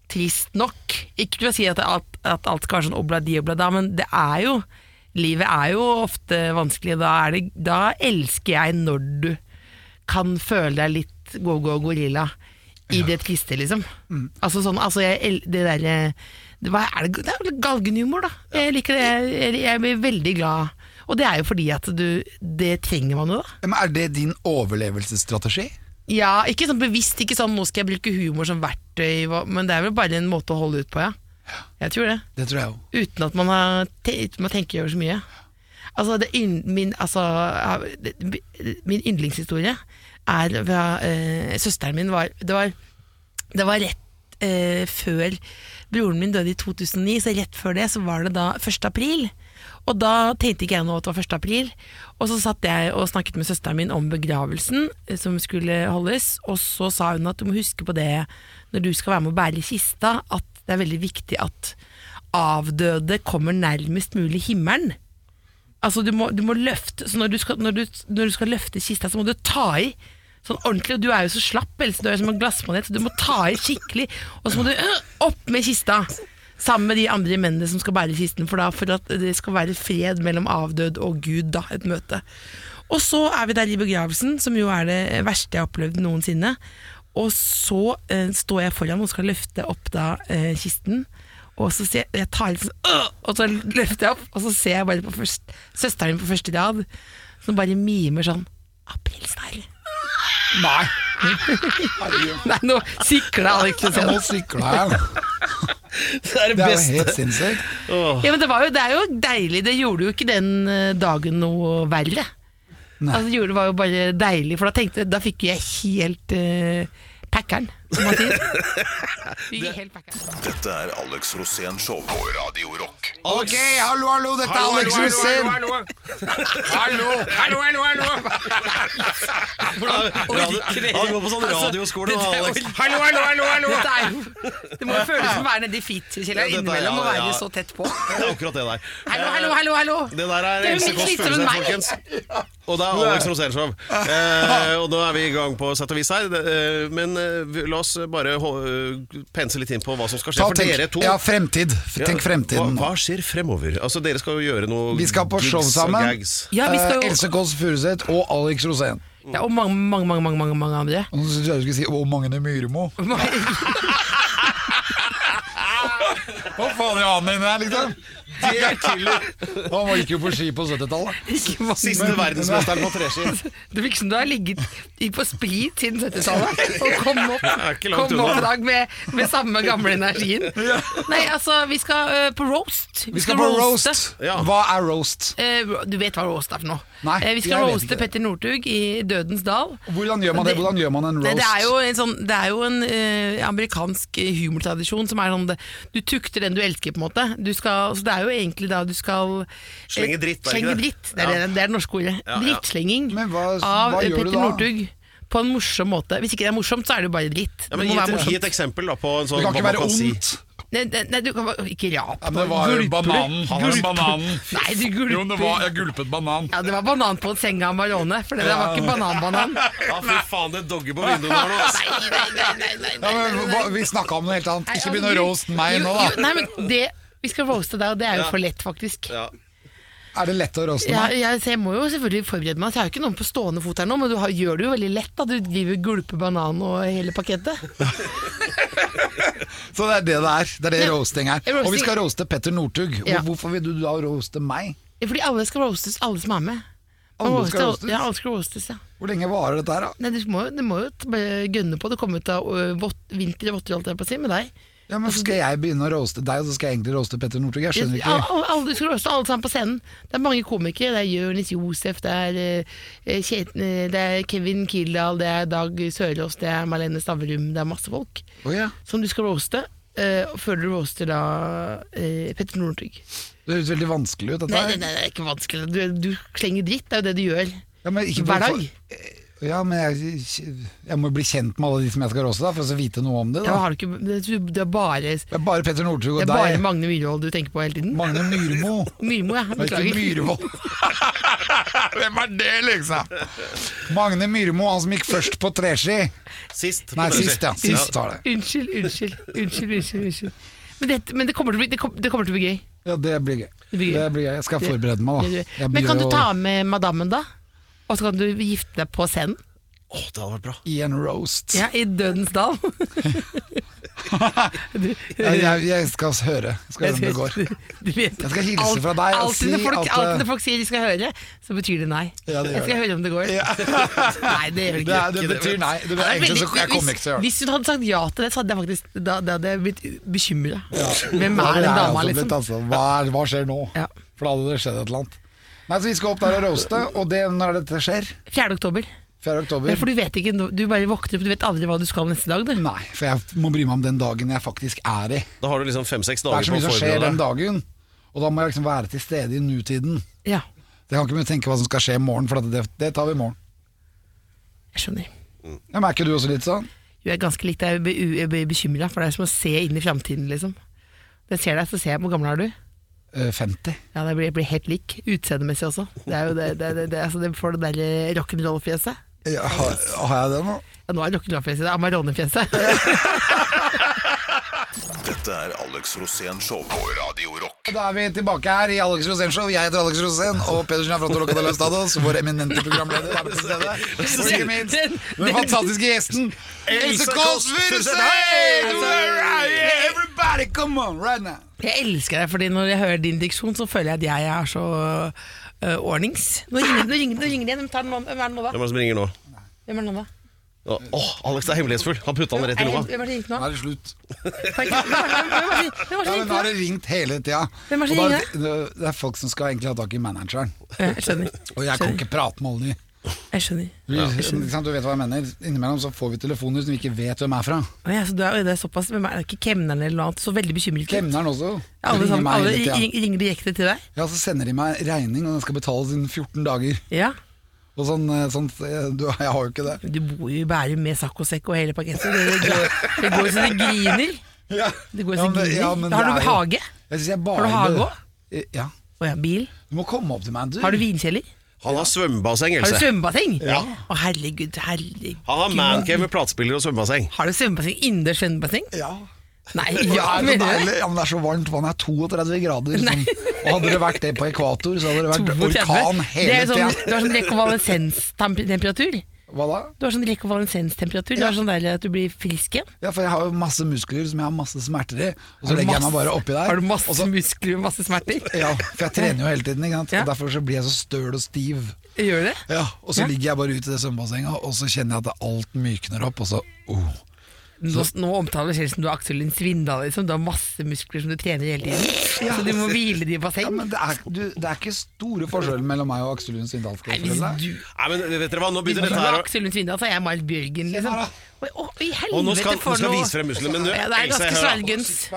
F: trist nok. Ikke til å si at alt, at alt skal være sånn obladi oblada, men det er jo Livet er jo ofte vanskelig. Da, er det, da elsker jeg når du kan føle deg litt go-go-gorilla i det triste, liksom. Altså sånn, altså jeg, el- det derre det, hva er det, det er vel galgenhumor, da. Jeg liker det. Jeg, jeg blir veldig glad. Og det er jo fordi at du Det trenger man jo, da.
E: Men er det din overlevelsesstrategi?
F: Ja, ikke sånn bevisst, ikke sånn 'nå skal jeg bruke humor som verktøy', hva- men det er vel bare en måte å holde ut på, ja. Jeg tror det.
E: Det tror jeg jo.
F: Uten at man, har, te- uten å tenke over så mye. Altså, det, yn- min, altså, det, min yndlingshistorie er fra eh, søsteren min. Var, det, var, det var rett eh, før broren min døde i 2009, så rett før det så var det da 1. april. Og da tenkte ikke jeg noe at det var 1. april. Og så satt jeg og snakket med søsteren min om begravelsen eh, som skulle holdes, og så sa hun at du må huske på det når du skal være med å bære kista, at det er veldig viktig at avdøde kommer nærmest mulig himmelen. Altså du må, du må løfte Så når du, skal, når, du, når du skal løfte kista Så må du ta i Sånn ordentlig, og du er jo så slapp Ellers du er jo som en glassmanet Så du må ta i skikkelig Og så må du øh, opp med kista Sammen med de andre mennene som skal bære kisten For da for at det skal være fred mellom avdød og Gud da Et møte Og så er vi der i begravelsen Som jo er det verste jeg har opplevd noensinne Og så eh, står jeg foran og skal løfte opp da eh, kisten. Og så ser jeg, jeg tar litt sånn «Åh!» Og så løfter jeg opp, og så ser jeg bare på først, søsteren min på første rad som bare mimer sånn Aprilsnarr.
E: Nei! Herregud.
F: Nei, nå sikla Alex
E: Ja,
F: Rosén.
E: Nå sykla jeg.
C: Det er det
E: Det er jo
C: beste.
E: helt sinnssykt.
F: Ja, men det, var jo, det er jo deilig. Det gjorde jo ikke den eh, dagen noe verre. Altså, det gjorde- var jo bare deilig, for da tenkte da fikk jeg helt eh, packeren, som man sier. Fikk helt packeren.
B: Dette er Alex Rosén Show på Radio Rock.
E: Ok, hallo, hallo, dette er Alex Rosén.
D: Hallo, hallo, hallo!
C: Han går på sånn
E: Altså,
C: radioskole.
F: det-
C: da,
F: det er jo
C: Alex.
D: Hallo, hallo, hallo, hallo!
F: Dette er jo, det må jo føles som å være nedi
C: Ja,
F: fitkjelleren
C: dette er-
F: innimellom og
C: ja,
F: være
C: ja.
F: så tett på.
C: Det er akkurat det der.
F: Hallo, hallo, hallo! hallo
C: Det der er
F: Det er jo
C: Else
F: mye
C: Kåss
F: slitere
C: Furuseth,
F: enn meg.
C: folkens. Og det er Alex Rosén Show. Eh, og nå er vi i gang på sett og vis her. Det- Eh, men eh, vi- la oss bare hå- eh, pense litt inn på hva som skal skje
E: Ta
C: for
E: tenk,
C: dere to.
E: ja, fremtid. Tenk fremtiden.
C: Hva, hva skjer fremover? Altså, dere skal jo gjøre noe
E: Vi skal på
C: gigs
E: show
C: og
E: sammen.
C: gags.
F: Ja, vi
E: Eh,
F: skal jo
E: Else Kåss Furuseth og Alex Rosén.
F: ja, Og mange, mange, mange, mange, mange, mange andre.
E: Og så skulle jeg skulle si Å, Magne Myremo. Hva faen er han med der, liksom? Han var- gikk jo på ski på 70-tallet.
F: Ikke mange.
C: Siste verdensmesteren på treski.
F: Det virker som du har ligget i på sprit siden 70-tallet og kom opp,
C: er ikke langt
F: kom opp
C: unna.
F: i dag med, med samme gamle energien. Nei, altså, vi skal eh, på roast.
E: Vi skal på
F: roaste.
E: roast.
C: Ja.
E: Hva er roast?
F: Eh, du vet hva roast er for noe.
E: Nei,
F: Eh, vi skal
E: jeg vet
F: roaste
E: ikke det.
F: Petter Northug i Dødens dal.
E: Hvordan gjør man det? Hvordan gjør man en
F: Nei,
E: roast?
F: det er jo en, sånn, det er jo en eh, amerikansk humortradisjon som er sånn det, Du tukter den du elsker, på en måte. Du skal, så det er jo egentlig da du skal eh,
C: Slenge dritt, er det ikke
F: slenge
C: det?
F: dritt. Det er, det, det er det norske ordet.
C: Ja, ja.
F: Drittslenging
E: Men hva-
F: av
E: hva
F: eh,
E: gjør du
F: Petter
E: da?
F: Northug på en morsom måte. Hvis ikke det er morsomt, så er det jo bare dritt.
C: Ja,
F: det
C: men
F: må
C: gi, et,
F: være
C: gi et
F: morsomt.
C: eksempel da, på en sånn,
E: det kan
C: hva
E: ikke
C: man
E: være
C: kan si.
E: ondt.
F: Nei, nei, nei, du kan bare- ikke rap.
E: Ja, men det var jo
F: Gulper.
D: Bananen. Han er bananen.
F: Nei, du gulper.
D: Jo, det var, jeg gulpet banan.
F: Ja, det var banan på senga av Marone, for det der var ikke banan-banan.
C: Ja, fy faen, det dogger på vinduene her nå. ass.
F: Nei, nei, nei, nei, nei,
E: Ja,
F: nei, nei,
E: men,
F: nei.
E: hva, vi snakka om noe helt annet.
F: Nei,
E: Ikke
F: altså,
E: begynn å
F: du-
E: roaste meg
F: jo,
E: nå,
F: jo,
E: da.
F: Nei, men det, vi skal roaste deg, og det er jo for lett, faktisk.
C: Ja.
E: Er det lett å roaste
F: Jeg,
E: meg?
F: jeg, så jeg må jo selvfølgelig forberede meg, så jeg har jo ikke noen på stående fot her nå, men du har, gjør det jo veldig lett. da Du driver og gulper banan og hele pakettet.
E: Så det er det det er. Det er det
F: Ja.
E: roasting er.
F: Roasting-
E: Og vi skal roaste Petter Northug. Og
F: Ja.
E: Hvorfor vil du da roaste meg?
F: Fordi alle skal roastes, alle som er med. Man
E: Alle
F: roaster-
E: skal roastes?
F: Ja, alle skal roastes, ja.
E: Hvor lenge varer dette her, da?
F: Nei, du må, jo- det må jo t- bare gønne på. Det kommer ut av ø, vått- vinter og votter, holdt jeg på å si, med deg.
E: Ja, men Skal jeg begynne å roaste deg, og så skal jeg egentlig roaste Petter Northug? Jeg skjønner
F: Alle,
E: ikke.
F: alle, alle- du skal roaste alle sammen på scenen. Det er mange komikere. Det er Jonis Josef, det er, eh, Kjet- eh, det er Kevin Kildahl, det er Dag Sørås, det er Marlene Stavrum. Det er masse folk
E: Å ja.
F: som du skal roaste. eh, og før du roaster da eh, Petter Northug.
E: Det høres veldig vanskelig ut, dette
F: Nei, nei,
E: her.
F: nei, det er ikke vanskelig. Du, du slenger dritt, det er jo det du gjør.
E: Ja, men ikke
F: Hver
E: for-
F: dag.
E: Ja, men jeg, jeg må jo bli kjent med alle de som jeg skal roaste, da, for å så vite noe om det.
F: Ja,
E: da.
F: har du ikke, det, du- det er bare, det
E: Det er bare Petter Northug
F: er
E: og
F: bare
E: deg.
F: Magne Myhrvold du tenker på hele tiden.
E: Magne Myrmo.
F: Myrmo, ja.
E: Det er ikke
F: Beklager.
E: Myrvold. Hvem er det, liksom? Magne Myrmo, han som gikk først på treski.
C: Sist. på
E: Nei,
C: treski.
E: sist, ja. Sist tar det.
F: Unnskyld, unnskyld. Unnskyld, unnskyld. unnskyld. Men, det, men det, kommer til å bli, det, kom, det kommer til å bli gøy.
E: Ja, det blir gøy.
F: Det blir gøy.
E: Det blir gøy. Jeg skal forberede meg, da. Jeg
F: Men kan
E: blir
F: du
E: jo
F: ta med madammen da? Og så kan du gifte deg på scenen?
C: Åh, det hadde vært bra.
E: i en roast.
F: Ja, I Dødens dal. du,
E: Ja, Jeg, jeg skal høre. Jeg skal høre om det går.
F: Du vet,
E: Jeg skal hilse fra deg og
F: alt,
E: si
F: det folk,
E: at,
F: Alt
E: eh,
F: det folk sier de skal høre, så betyr det nei.
E: Ja, det gjør
F: jeg skal
E: det.
F: høre om det går. nei, det gjør
E: Det,
F: det ikke.
E: er, det betyr nei. Det
F: Ja,
E: betyr,
F: det er
E: egentlig så
F: veldig-
E: jeg kommer ikke til å gjøre det.
F: hvis, hvis hun hadde sagt ja til det, så hadde jeg faktisk Da, da hadde jeg blitt bekymra. Hvem
E: Da ville
F: er den
E: jeg
F: dama,
E: altså blitt,
F: liksom?
E: altså, hva, er, hva skjer nå?
F: Ja.
E: For da hadde det skjedd et eller annet. Nei, så Vi skal opp der og roaste, og det, når er det dette skjer?
F: 4. oktober.
E: 4.
F: Ja,
E: oktober?
F: for du vet ikke, du bare våkner opp, du vet aldri hva du skal neste dag. Du.
E: Nei, for jeg må bry meg om den dagen jeg faktisk er i.
C: Da har du liksom fem-seks
E: Det
C: dager
E: er så
C: på å
E: mye som skjer
C: forberede
E: den
C: deg.
E: dagen, og da må jeg liksom være til stede i nutiden.
F: Ja,
E: Jeg kan ikke begynne å tenke hva som skal skje i morgen, for at det, det tar vi i morgen.
F: jeg skjønner.
E: Ja, men er ikke du også litt sånn?
F: Jo, jeg er ganske likt deg, jeg blir u- jeg blir bekymra, for det er som å se inn i framtiden, liksom. Når jeg ser deg, så ser jeg hvor gammel er du.
E: Eh, 50.
F: Ja, det blir, jeg blir helt lik. Utseendemessig også. Det er jo det, det, det, det, altså, det får det derre rock'n'roll-fjeset.
E: Ja, har, har jeg det nå?
F: Ja, nå er rock'n'roll-fjeset det er Amarone-fjeset.
B: Dette Dette er Alex Rosén Show på Radio Rock.
E: Da er vi tilbake her i Alex Rosén Show. Jeg heter Alex Rosén, og Pedersen er fra Toloca de la Stados, vår eminente programleder. er med til stede. Og ikke minst den fantastiske gjesten Else Kåss Furuseth! Hey, do it right, yeah, Everybody, come on, right now!
F: Jeg elsker deg, fordi når jeg hører din diksjon, så føler jeg at jeg er så øh, ordnings. Nå ringer, nå ringer, nå ringer de igjen. Hvem tar den nå? Hvem er det nå, da?
C: Hvem er det som ringer nå?
F: Hvem er det nå, da?
C: Å, åh, Alex er hemmelighetsfull. Han putta den rett i
F: Er det-
C: lomma.
F: Hvem er det som ringte nå?
E: Nå er det slutt.
F: Har ikke- Hvem er det- hvem er det- hvem er
E: Ja,
F: det som
E: men
F: ringte
E: Nå
F: nå?
E: har det ringt hele tida.
F: Hvem er det
E: Og
F: som
E: da-
F: ringer?
E: det- Det er folk som skal egentlig ha tak i manageren.
F: Ja, Jeg skjønner.
E: Og jeg kan ikke prate med alle de.
F: Jeg skjønner.
E: Vi, ikke sant, du vet hva jeg mener. Innimellom så får vi telefoner som vi ikke vet hvem er fra.
F: Å, ja, så du er, oi, det er såpass, men er det ikke kemneren eller noe annet? Så veldig bekymret. ut.
E: Kemneren også.
F: Alle,
E: ringer
F: sammen,
E: meg
F: alle
E: hele tiden.
F: ring- ringer direkte til deg?
E: Ja, så sender de meg regning, og den skal betales innen 14 dager.
F: Ja.
E: Og sånn, eh, sånn eh, du, Jeg har jo ikke det.
F: Du bor jo i Bærum med sakk og sekk og hele pakketten. Det, det, går, det går så det griner.
E: Ja,
F: Det går så
E: men
F: det
E: det-
F: griner.
E: ja, men det
F: har du
E: er jo-
F: hage?
E: Jeg synes jeg bare,
F: Har du hage også?
E: Eh, Ja.
F: Å ja, bil?
E: Du må komme opp til meg en tur.
F: Har du vinkjeller?
C: Han har svømmebasseng,
F: Har du
C: Else.
F: svømmebasseng?
C: Ja.
F: Å herregud, herregud.
C: Han har mancave med platespiller og svømmebasseng.
F: Har du svømmebasseng? Innendørs svømmebasseng?
E: Ja.
F: Nei,
E: Ja,
F: ja,
E: det er så
F: mener du det?
E: deilig. Ja, men det er så varmt. Vannet er 32 grader. Sånn. Og hadde det vært det på ekvator, så hadde det vært
F: 32.
E: orkan
F: Det
E: hele
F: er sånn,
E: tida.
F: Du har sånn rekonvalesens-temperatur.
E: Hva da?
F: Du har sånn rekonvalesens-temperatur. Du
E: Ja.
F: har sånn deilig at du blir frisk igjen.
E: Ja, for jeg har jo masse muskler som jeg har masse smerter i, og så legger
F: Har du
E: jeg meg
F: masse-
E: bare oppi der.
F: Har du masse muskler og masse smerter?
E: Ja, for jeg trener jo hele tiden, ikke sant?
F: Ja.
E: og derfor så blir jeg så støl og stiv.
F: Gjør du det?
E: Ja, og så
F: Ja.
E: ligger jeg bare ute i det svømmebassenget, og så kjenner jeg at alt mykner opp, og så oh.
F: Nå, nå omtaler du selv som du er Aksel Lund Svindal. Liksom. Du har masse muskler som du trener hele tiden. Så du må hvile de i basseng.
E: Ja, men det er, du, det er ikke store forskjellen mellom meg og Aksel Lund Svindal. skal
F: Nei,
E: jeg
F: hvis
E: fortelle deg.
F: du,
C: Nei, men vet dere hva, nå
F: hvis du
C: begynner dette
F: er
C: her å
F: Aksel Lund Svindal, så er jeg Marit Bjørgen.
E: Se
F: Liksom.
E: her,
F: Oi, å, i helvete,
C: Og nå skal, nå
F: for
C: skal
F: noe-
C: vi vise frem musklene. Men nå,
F: ja, Det er
C: Else,
F: ganske
C: hør da.
F: svelgens.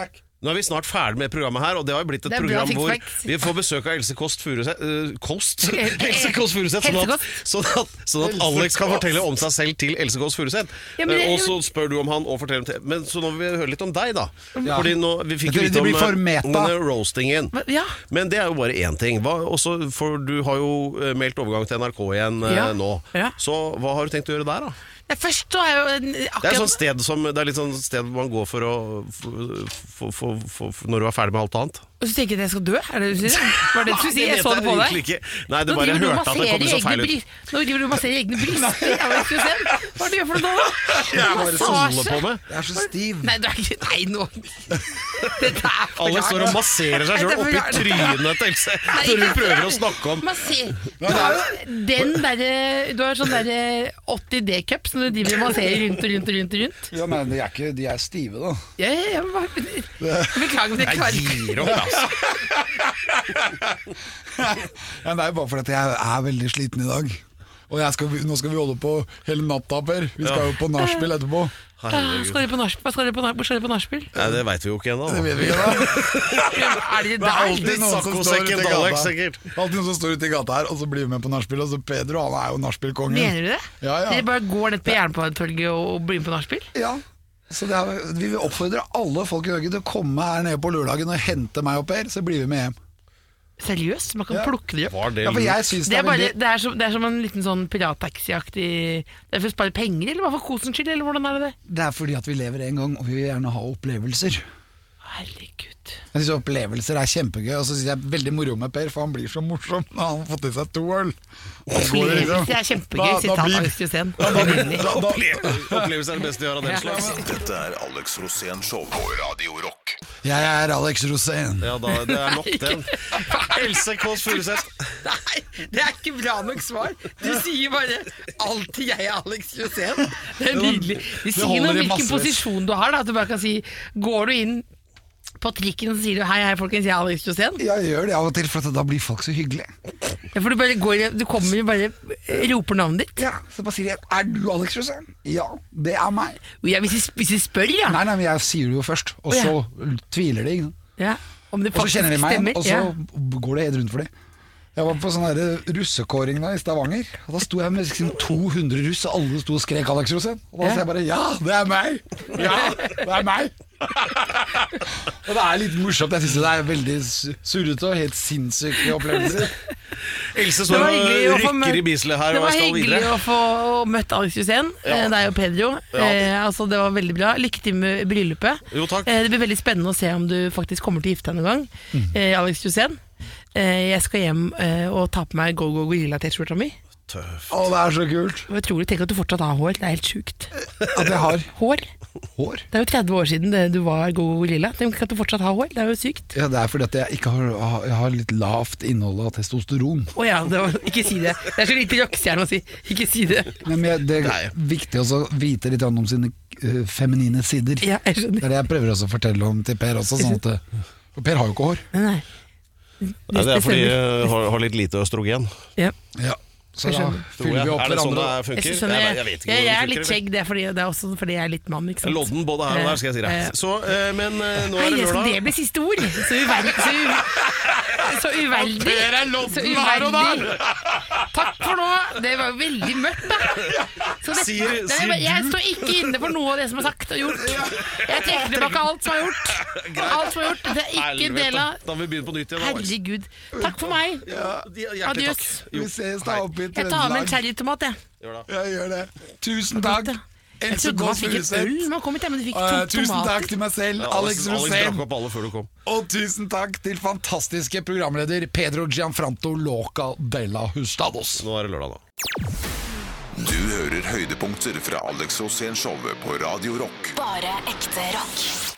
C: nå er vi snart ferdig med programmet her, og det har jo blitt et
F: Det er bra
C: program hvor
F: sixpacks.
C: vi får besøk av Else Kåss Furuseth øh, Kost?
F: Eh, eh,
C: Else Kåss Furuseth, sånn, at-
F: Helsekost.
C: sånn, at- sånn at Alex kan fortelle om seg selv til Else Kåss Furuseth.
F: Ja, men det-
C: Eh, og så spør du om han og forteller om te- Men så nå vil vi høre litt om deg, da.
E: Ja.
C: Fordi nå vi fikk
E: Jeg tror
C: jo
E: det
C: vite om
E: blir for
C: eh,
E: meta.
C: denne roastingen.
F: Hva- ja.
C: Men det er jo bare én ting. Hva, også, for du har jo eh, meldt overgang til NRK igjen eh,
F: Ja.
C: nå.
F: Ja.
C: Så hva har du tenkt å gjøre der, da?
F: Nei, Først så er jo en-
C: Det er et
F: akkurat
C: sånt sted som Det er litt sånn sted man går for å for, for, for, for, Når du er ferdig med alt annet.
F: Og så tenker jeg at jeg skal dø? Er det det du sier? Var det det du
C: Nei,
F: sier? Jeg
C: vet
F: så det på
C: egentlig
F: deg.
C: Ikke. Nei, det
F: Nå
C: bare jeg
F: driver du og
C: hørte at det kom
F: masserer
C: så
F: egne
C: feil ut.
F: bryst. Nå driver du og masserer egne bryster. Jeg vet ikke selv. Hva er det du gjør for noe nå?
C: Jeg bare holder på
F: Massasje?
C: med.
E: Jeg er så stiv.
F: Nei, du er ikke Nei, nå Dette er for
C: Alex står og
F: rart.
C: masserer seg
F: Nei, det
C: sjøl
F: er for
C: oppi
F: rart.
C: trynet til Else når hun prøver å snakke om
F: Masser. Du har jo den derre Du har sånn derre 80 D-cup som du driver og masserer rundt og rundt og rundt. og rundt.
E: Ja, men de er, ikke, de er stive, da.
F: Ja, ja, ja, men bare- Beklager, men jeg
C: Jeg
F: klarer ikke
C: gir opp, altså.
E: Ja, men det er jo bare fordi at jeg er veldig sliten i dag. Og jeg skal, nå skal vi holde på hele natta, Per. Vi skal jo på nachspiel etterpå.
F: Ah, Skal dere på nachspiel? Hva skal dere på nach- Hvor skal dere på nachspiel?
C: Nei, det veit vi jo ikke ennå.
E: Det vet vi ikke, da.
F: Er dere
C: Det er
F: der?
C: alltid
E: noen som står ute i
C: saccosekken til
E: gata.
C: Alex, sikkert.
E: Alltid noen som står ute i gata her, og så blir vi med på nachspiel. Og så Pedro, han er jo nachspielkongen.
F: Mener du det?
E: Ja, ja.
F: Dere bare går ned på Jernbanetorget og og blir med på nachspiel?
E: Ja. Så det er, vi vil oppfordre alle folk i Norge til å komme her nede på lørdagen og hente meg og Per, så blir vi med hjem.
F: Seriøst? Man kan
E: Ja.
F: plukke de opp?
C: Var det
E: Ja, for
C: lurt?
E: jeg synes
F: Det
E: det
F: er,
E: er
F: bare,
E: veldig
F: det, er som, det er som en liten sånn pirattaxiaktig Det er for å spare penger, eller hva for kosens skyld, eller hvordan er det det?
E: Det er fordi at vi lever en gang, og vi vil gjerne ha opplevelser.
F: Herregud.
E: Jeg synes Opplevelser er kjempegøy, og så synes jeg det er veldig moro med Per, for han blir så morsom når han har fått i seg to øl. Da går det liksom-
F: Opplevelse er kjempegøy,
E: Da- da
F: sitat
E: blir-
F: August Jussen.
E: da- da- da- da-
C: Opplevelse er det beste vi har av den slags.
B: Dette er Alex Rosén Show på Radio Rock.
E: Jeg er Alex Rosén.
C: Ja, da, det er nok den. Else Kåss Furuseth.
F: Nei, det er ikke bra nok svar. Du sier bare 'alltid jeg, Alex Josén'. Det er nydelig. Det sier noe
E: holder
F: om
E: i
F: hvilken
E: massevis.
F: posisjon du har. Da. At du bare kan si Går du inn på trikken og sier du 'hei, hei, folkens, jeg er Alex Josén'?
E: Jeg gjør det av og til, for at da blir folk så hyggelige.
F: Ja, for du, bare går, du kommer og bare eh, roper navnet ditt.
E: Ja, Så bare sier jeg 'Er du Alex Rosén?' Ja, det er meg.
F: Og jeg, hvis, jeg, hvis jeg spør, ja.
E: Nei, nei, men jeg sier det jo først, og
F: Å, ja.
E: så tviler de. ikke sant?
F: ja om det
E: Og så
F: faktisk
E: kjenner de meg,
F: stemmer.
E: og så går det helt rundt for dem. Jeg var på sånn der russekåring da i Stavanger. Og Da sto jeg med liksom 200 russ, og alle sto og skrek Alex Rosén. Og da
F: Ja.
E: sa jeg bare 'ja, det er meg'. Ja, det er meg. og det er litt morsomt. Jeg syns det er veldig su- surrete og helt sinnssyke opplevelser.
C: Else
F: Det
C: står
F: var
C: og
F: hyggelig å få
C: rykker
F: mø-
C: i bislet her
F: Det
C: og
F: var
C: jeg skal
F: hyggelig
C: videre.
F: å få møtt Alex Hussein, eh, deg og Pedro. Eh, altså, det var veldig bra. Lykke til med bryllupet.
C: Jo, takk.
F: Eh, det blir veldig spennende å se om du faktisk kommer til å gifte deg noen gang. Eh, Alex Hussein. Eh, jeg skal hjem eh, og ta på meg Go Go Gorilla-T-skjorta mi.
C: Tøff.
E: Å, det er så kult
F: Og jeg tror du tenker at du fortsatt har hår. Det er helt sjukt.
E: at jeg har
F: Hår?
E: hår.
F: Det er jo 30 år siden det, du var Go Go Gorilla. Tenk at du fortsatt har hår. Det er jo sykt.
E: Ja, det er fordi at jeg ikke har, jeg har litt lavt innhold av testosteron.
F: Å ja, det var, ikke si det. Det er så lite rockestjerne å si. Ikke si det.
E: Men jeg, det
C: Nei.
E: er viktig også å vite litt om sine eh, feminine sider.
F: Ja, jeg
E: Det
F: skjønner.
E: er det jeg prøver også å fortelle om til Per også. Sånn at, det- for Per har jo ikke hår.
F: Nei.
C: Nei, det er fordi
F: stemmer.
C: jeg har, har litt lite østrogen.
F: Ja.
E: Ja, så
F: Jeg
E: da
F: skjønner.
C: Tror
E: fyller
C: jeg.
E: vi opp
C: Er det sånn det
E: hverandre.
C: er- funker?
F: Jeg, skjønner,
C: Jeg,
F: jeg,
C: jeg vet ikke
F: jeg,
C: hvordan det
F: er litt
C: funker.
F: skjegg, det er, fordi, det er også fordi jeg er litt mann. ikke sant?
C: Lodden både her og der, skal jeg si
F: Eh, eh,
C: deg. Så, eh, men eh, nå
F: Nei,
C: er det
F: jeg- så det
C: lørdag.
F: ble siste ord! Så uverdig. Så, u- så uverdig.
D: Per er lodden
F: Så
D: her og
F: uverdig. Takk for nå. Det var jo veldig mørkt, da. Så det,
C: Sier-
F: Nei,
C: sier
F: men jeg står ikke inne for noe av det som er sagt og gjort. Jeg trekker tilbake alt som er gjort. Alt som er gjort. Det er ikke en
C: Helvete.
F: del av
C: Da må vi begynne på nytt igjen. da, Alex.
F: Herregud. Takk for meg.
C: Hjertelig takk.
F: Adjøs.
C: Jo,
E: Vi ses
C: hei.
E: da oppe i
F: Jeg tar med en
E: Trøndelag.
F: cherrytomat, jeg.
C: Gjør det.
E: Jeg gjør det. Tusen takk.
F: Jeg
E: Else
F: trodde man
E: Kåss
F: fikk et øl
E: Furuseth.
F: når man kom hit, ja, men du fikk to
E: Eh, Tusen takk
F: tomater.
E: til meg selv,
C: Ja,
E: Alex
C: drakk
E: Rosén.
C: opp alle før du kom.
E: Og tusen takk til fantastiske programleder Pedro Gianfranto Loca della Hustados.
C: Nå er det lørdag, da.
B: Du hører høydepunkter fra Alex Rosén-showet på Radio Rock.
A: Bare ekte rock.